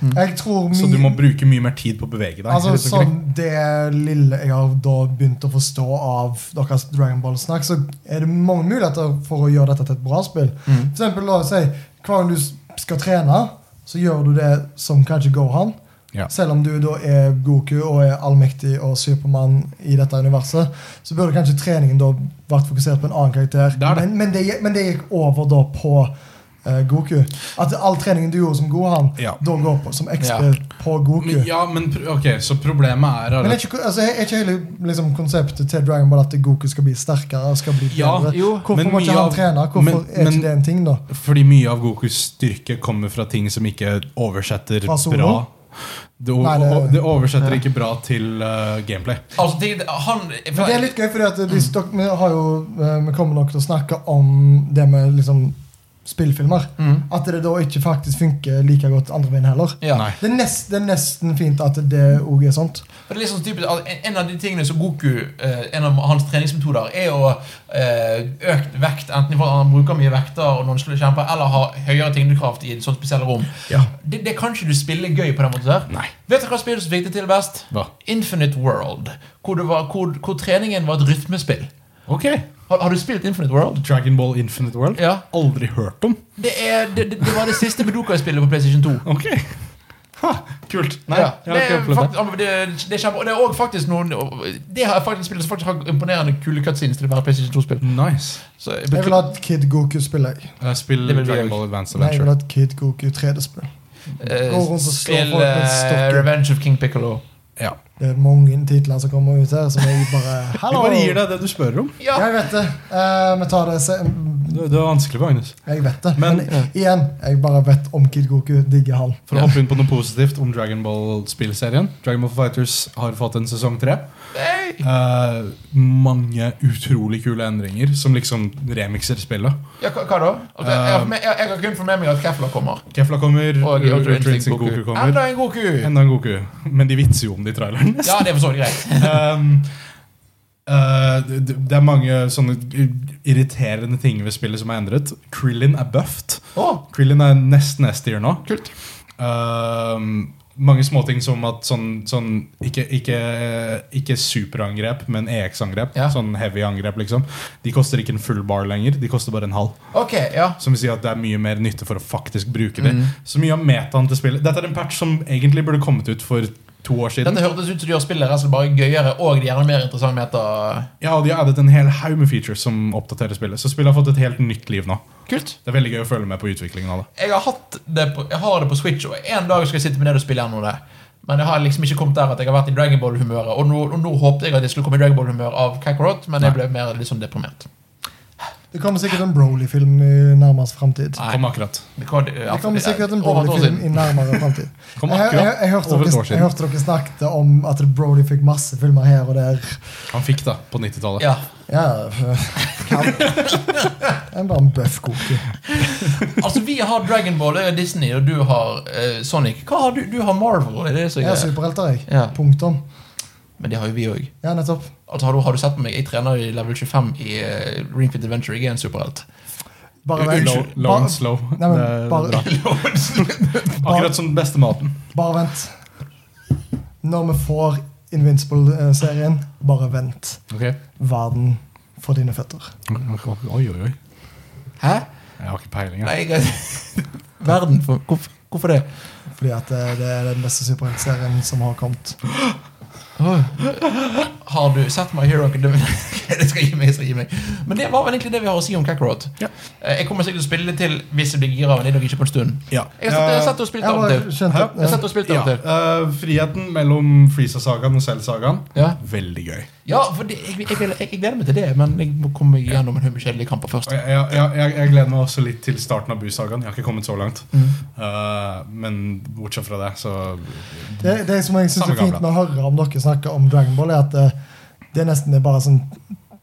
S2: Jeg tror
S3: så du
S2: mye
S3: må bruke mye mer tid på å bevege deg.
S2: Altså,
S3: rett og slett.
S2: sånn det lille jeg har da begynt å forstå av deres Dragon Ball-snakk, så er det mange muligheter for å gjøre dette til et bra spill.
S3: Mm.
S2: For eksempel, la oss si, hver gang du s- skal trene, så gjør du det som kanskje Gohan.
S3: Ja.
S2: Selv om du da er Goku og er allmektig og Supermann i dette universet, så burde kanskje treningen da vært fokusert på en annen karakter.
S3: Det er det.
S2: Men, men, det, gikk- men det gikk over da på eh, Goku. At all treningen du gjorde som Gohan,
S3: Ja.
S2: da går på som XP
S1: Ja.
S2: på Goku.
S3: Men, ja, men pr- ok, så problemet er
S2: Men er
S3: at
S2: ikke, altså, er ikke hele liksom, konseptet til Dragon Ball at Goku skal bli sterkere? og skal bli
S3: Ja,
S2: bedre?
S1: jo,
S2: Hvorfor
S3: men
S2: må ikke
S3: mye
S2: han
S3: av-
S2: trene? Hvorfor
S3: men-
S2: er ikke
S3: men-
S2: det en ting, da?
S3: fordi mye av Gokus styrke kommer fra ting som ikke oversetter
S2: Fra Solo?
S3: bra Det, o-
S2: Nei, det-
S3: o- det oversetter ikke bra til eh, gameplay.
S1: Altså, det, han
S2: Men det er litt gøy, fordi at
S3: Mm.
S2: de, stok- vi, har jo, eh, vi kommer nok til å snakke om det med liksom, spillfilmer.
S3: Mm.
S2: At det da ikke faktisk funker like godt andre veien heller.
S1: ja.
S3: Nei.
S2: Det, er nest, det er nesten fint at det òg er sånt.
S1: For det er litt sånn typisk, at en- En av de tingene som Goku eh, En av hans treningsmetoder er å eh, økt vekt, enten for at han bruker mye vekter og noen skulle kjempe, eller ha høyere tyngdekraft i et sånt spesielt rom.
S3: Ja.
S1: Det, det kan ikke du spille gøy på den måten der.
S3: Nei.
S1: Vet du hva spillet som fikk det til best?
S3: Hva?
S1: Infinite World. Hvor, det var, hvor, hvor treningen var et rytmespill.
S3: Ok
S1: Har, har du spilt Infinite World?
S3: Dragon Ball Infinite World?
S1: Ja.
S3: Aldri hørt om.
S1: Det, er, det, det, det var det siste Bedoka-spillet på PlayStation 2.
S3: Ok. Ha, kult. Nei,
S1: ja.
S3: jeg har
S1: det,
S3: ikke
S1: er
S3: opplevd det.
S1: fakt, ja, men det, det, er kjempe, og det er også faktisk noen Det har jeg faktisk spilt som faktisk har imponerende kule cutscenes til å være PlayStation 2-spill.
S3: Nice.
S1: Så jeg
S2: Jeg vil
S1: beklager-
S2: ha et Kid Goku spill, jeg.
S3: Jeg
S1: Det
S3: spiller
S1: vil vi
S3: Eh, Dragon
S1: også.
S3: Ball Advance
S2: Nei, jeg vil ha
S3: Adventure.
S2: et Kid Goku 3D-spill.
S1: eh,
S2: Gå rundt og slå
S1: Spill
S2: folk med
S1: eh,
S2: stokken.
S1: Revenge of King Piccolo.
S3: Ja.
S2: Det er mange titler som kommer ut her, som jeg bare
S3: [laughs] Vi
S2: Hallo!
S3: bare gir deg det du spør om.
S1: Ja,
S2: Jeg vet det. Eh, Vi tar det se-
S3: Det, det var vanskelig for Agnes.
S2: Jeg vet det.
S3: Men-
S2: Men, igjen, jeg bare vet om Kid Goku. Digger han.
S3: For å hoppe inn på noe positivt om Dragon Ball-spillserien. Dragon Ball Fighters har fått en sesong tre.
S1: hey.
S3: Eh, mange utrolig kule endringer som liksom remixer spillet.
S1: ja hva, hva da? Altså, jeg, har fått med- jeg, jeg har kun fått med meg at Kefla kommer.
S3: Kefla kommer,
S1: Og
S3: Ultra
S1: Ultra
S3: Instinct Goku kommer.
S1: Enda en Goku!
S3: Enda en Goku. Men de vitser jo om det i traileren.
S1: Ja, det er for så vidt greit.
S3: um, uh, det, det det er mange sånne irriterende ting ved spillet som er endret. Krillin er buffed.
S1: Å,
S3: Krillin er nest nest year nå.
S1: kult.
S3: Um, mange småting som at sånn, sånn ikke, ikke, ikke superangrep, men EX-angrep.
S1: Ja.
S3: Sånn heavy angrep, liksom. De koster ikke en full bar lenger, de koster bare en halv.
S1: Ok, ja.
S3: Som vil si at det er mye mer nytte for å faktisk bruke
S1: Mm.
S3: det. Så mye av metaen til spillet Dette er en patch som egentlig burde kommet ut for to år siden.
S1: Dette hørtes ut som de gjør spillet rett og slett bare gøyere og de gjerne mer interessant meta.
S3: Ja, og de har addet en hel haug med features som oppdaterer spillet. Så spillet har fått et helt nytt liv nå.
S1: Kult.
S3: Det er veldig gøy å følge med på utviklingen av det.
S1: Jeg har, hatt det på, jeg har det på Switch, og en dag skal jeg sitte med det og spille gjennom det. Men jeg har liksom ikke kommet der at jeg har vært i Dragonball-humøret. Og, nå- og nå håpte jeg at jeg skulle komme i Dragonball-humør av Kakarot, men jeg
S3: Nei.
S1: ble mer litt sånn deprimert.
S2: Det kommer sikkert en Broly-film i nærmest framtid.
S1: Nei.
S3: Kom akkurat.
S1: Det kom, det,
S2: Det kommer sikkert en
S1: over et år
S2: Broly-film
S1: siden.
S2: i nærmere
S1: [laughs]
S2: framtid.
S3: Kom
S2: Jeg, jeg, jeg,
S3: akkurat
S2: hørte
S3: over et
S2: dere- jeg
S3: år siden.
S2: hørte dere snakket om at Brody fikk masse filmer her og der.
S3: Han fikk da, på 90-tallet.
S1: Ja.
S2: Ja, kan. Jeg er bare en bøff koke.
S1: Altså, vi har Dragonball, det er Disney, og du har eh, Sonic. Hva har du? Du har Marvel. Er det så
S2: Jeg er
S1: jeg,
S2: superhelter, jeg.
S1: Ja.
S2: Punktum.
S1: men det har jo vi òg.
S2: Ja, nettopp.
S1: Altså, har, du- har du sett på meg? Jeg trener i level 25 i uh, Ringfit Adventure. Jeg er en superhelt.
S2: Bare vent.
S3: Low, low and slow.
S2: Nei, men
S3: det, er
S2: bare-
S3: bra. Akkurat som den beste maten.
S2: Bare vent. Når vi får Invincible-serien, bare vent. Verden for dine føtter.
S3: Oi, oi, oi.
S1: Hæ?
S3: Jeg har ikke peiling. Jeg.
S1: Nei, jeg Verden, for, hvorfor, hvorfor det?
S2: Fordi at det, det er den beste superheltserien som har kommet.
S1: Har du sett My Hero Academia? [laughs] det skal gi meg, det skal gi meg. Men det var vel egentlig det vi har å si om Kakarot.
S3: Ja.
S1: Eh, Jeg kommer sikkert til å spille det til hvis jeg blir gira, men det er nok ikke på en stund.
S3: Ja. Eh,
S1: Jeg har satt- jeg har sett og spilt
S2: Jeg
S1: av og
S2: bare
S1: til. Jeg
S2: skjønte
S1: har
S2: at
S1: sett og spilt av
S3: Ja,
S1: og til.
S3: eh, friheten mellom Freeza-sagaen og Cell-sagaen.
S1: Ja.
S3: Veldig gøy.
S1: Ja, for det, jeg, jeg, jeg, jeg gleder meg til det, men jeg må komme meg gjennom en haug med kjedelige kamper først.
S3: Og Jeg, jeg, jeg, jeg- jeg gleder meg også litt til starten av Bu-sagaen. Jeg har ikke kommet så langt.
S1: Mm.
S3: Eh, men bortsett fra det, så
S2: det, det som jeg syns
S3: Samme
S2: er fint med
S3: gamle.
S2: å høre om dere snakker om Dragonball, er at eh, det nesten er bare sånn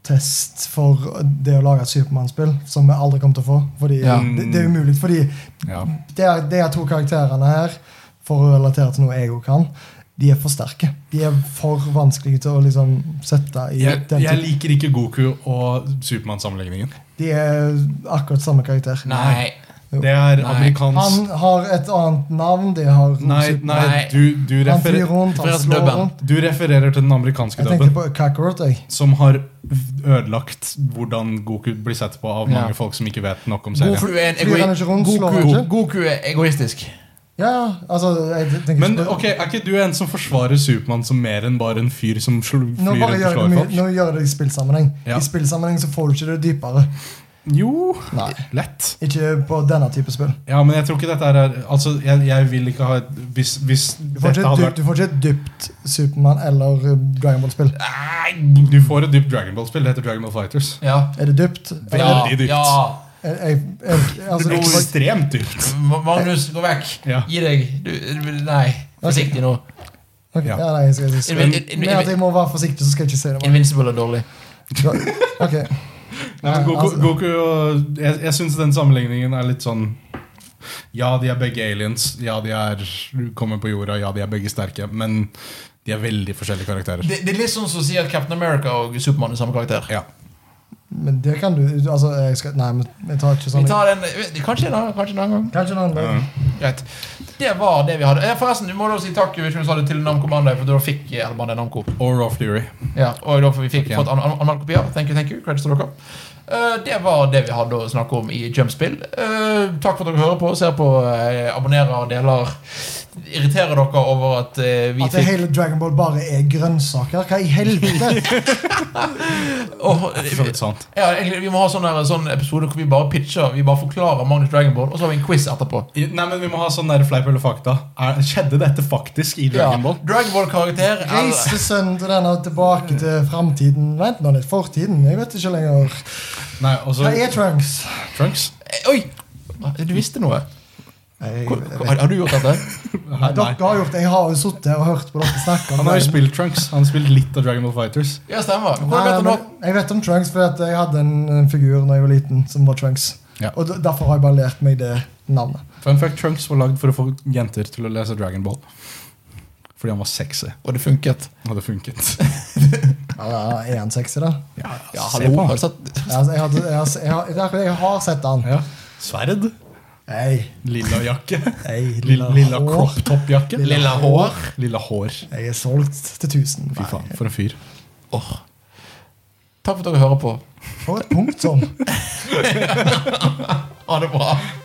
S2: test for det å lage et Supermann-spill, som vi aldri kommer til å få. Fordi
S1: Ja.
S2: det, det er umulig. Fordi
S3: ja.
S2: det er, det er to karakterene her, for å relatere til noe jeg òg kan, de er for sterke. De er for vanskelige til å liksom sette i
S3: Jeg,
S2: den
S3: jeg
S2: typen.
S3: liker ikke Goku og Supermann-sammenligningen.
S2: De er akkurat samme karakter.
S1: Nei.
S2: Jo.
S3: Det er
S1: Nei.
S3: amerikansk
S2: Han har et annet navn. De har
S3: Nei, nei,
S1: Nei.
S3: du, du,
S2: Han flyr
S3: referer,
S2: rundt, han
S1: refererer til
S2: slår
S1: dubben.
S2: rundt.
S3: du refererer til den amerikanske
S2: Jeg tenkte
S3: dubben,
S2: på Kakarot, jeg.
S3: som har ødelagt hvordan Goku blir sett på av mange
S1: Ja.
S3: folk som ikke vet nok om
S1: Goku
S3: serien.
S1: er, en
S2: Flyr han ikke rundt,
S1: egoist,
S2: slår han
S1: Goku,
S2: ikke?
S1: Goku er egoistisk.
S2: Ja, altså jeg tenker
S3: Men
S2: ikke på-
S3: ok, er ikke du en som forsvarer Supermann som mer enn bare en fyr som sl-
S2: nå, bare
S3: flyr rundt og
S2: gjør det,
S3: slår
S2: mye-
S3: folk?
S2: nå gjør det i spillsammenheng.
S3: Ja.
S2: I spillsammenheng så får du ikke det dypere.
S3: Jo,
S2: Nei.
S3: lett.
S2: Ikke på denne type spill.
S3: Ja, men jeg tror ikke dette her er Altså, jeg, jeg vil ikke ha et Hvis, hvis
S2: Du får,
S3: dette
S2: ikke et
S3: hadde
S2: dypt,
S3: vært
S2: du får ikke et dypt Supermann eller Dragonball-spill.
S3: Nei, Du får et dypt Dragon Ball-spill. Det heter Dragon Ball Fighters.
S1: Ja.
S2: Er det dypt?
S1: Ja,
S3: Veldig dypt.
S1: ja.
S2: Jeg, jeg, jeg, altså,
S3: Det er
S2: det-
S3: ekstremt dypt.
S1: Ma- Magnus, gå vekk.
S3: Ja.
S1: Gi deg. Du, du- nei, forsiktig nå.
S2: Ok,
S3: Ja.
S2: ja, nei, jeg, skal- jeg, skal-
S1: Invin- in-
S2: med at jeg må være forsiktig, så skal jeg ikke si det. men-
S1: Invincible er dårlig.
S2: Ok,
S3: Nei, men
S2: Ja,
S3: Goku,
S2: altså-
S3: Goku og Jeg, jeg syns den sammenligningen er litt sånn Ja, de er begge aliens. Ja, de er, kommer på jorda. Ja, de er begge sterke. Men de er veldig forskjellige karakterer.
S1: Det, det er litt sånn som å si at Captain America og Supermann er samme karakter.
S3: Ja.
S2: Men det kan du altså, jeg skal, Nei, men jeg tar ikke
S1: Vi
S2: sånn.
S1: tar den, kanskje en annen, kanskje en annen gang.
S2: Kanskje en annen dag.
S1: Greit. Det var det vi hadde. Eh, Forresten, du må da si takk hvis du sa det til Namco Bandai, for da fikk eh, Bandai Namco.
S3: Og Raw Fury.
S1: Ja, og da får vi fikk
S3: Ja.
S1: fått an- an- anmeldekopier. Thank you, thank you. Credits til dere. Eh, det var det vi hadde å snakke om i Jumpspill. Eh, takk for at dere hører på, ser på, eh, abonnerer og deler. Irriterer dere over at eh, vi
S2: At det
S1: fikk
S2: hele Dragon Ball bare er grønnsaker? Hva i helvete?
S1: Åh,
S3: Det er for så vidt sant.
S1: ja, egentlig, Vi må ha sånn der- sånn episode hvor vi bare pitcher Vi bare forklarer Magnus Dragonborn, og så har vi en quiz etterpå.
S3: I- Nei, men Vi må ha sånn der fleip eller fakta. Er, skjedde dette faktisk i Dragon Ball?
S1: Dragonball-karakter eller-
S2: Reiste sønnen til denne tilbake til framtiden? Vent nå litt, fortiden? Jeg vet ikke lenger.
S3: Nei, og så
S2: Hva er Trunks?
S3: Trunks.
S1: Eh, Oi! Du visste noe.
S2: Jeg,
S1: Hvor- hvor- Har, har du gjort dette?
S3: Nei,
S2: Dere har gjort det. Jeg har jo sittet og hørt på dere snakke om
S3: Han har jo
S2: det.
S3: spilt Trunks. Han har spilt litt av Dragon Ball Fighters.
S1: Ja, stemmer. Hvordan
S2: Nei,
S1: vet du
S2: men
S1: nå?
S2: jeg vet om Trunks fordi at jeg hadde en, en figur da jeg var liten som var Trunks.
S3: Ja.
S2: Og d- Derfor har jeg bare lært meg det navnet.
S3: Fun fact, Trunks var lagd for å få jenter til å lese Dragon Ball. Fordi han var sexy.
S1: Og det funket.
S3: Og det funket.
S2: Ja, ja, Er han sexy, da?
S3: Ja,
S1: Ja,
S3: se
S1: hallo,
S3: på
S1: har
S3: han.
S1: du sett
S2: Ja, altså, jeg, hadde, jeg, har- jeg, har- det er akkurat det, jeg har sett han.
S3: Ja. Sverd.
S2: Hei,
S3: Lilla jakke.
S2: hei,
S3: Lilla, lilla crop top-jakke.
S2: Lilla
S1: Lilla hår.
S3: Lilla hår.
S2: Jeg er solgt til 1000.
S3: Fy faen, for en fyr.
S1: Åh. Takk for at dere hører på.
S2: sånn. For et punktum.
S1: Ha det bra.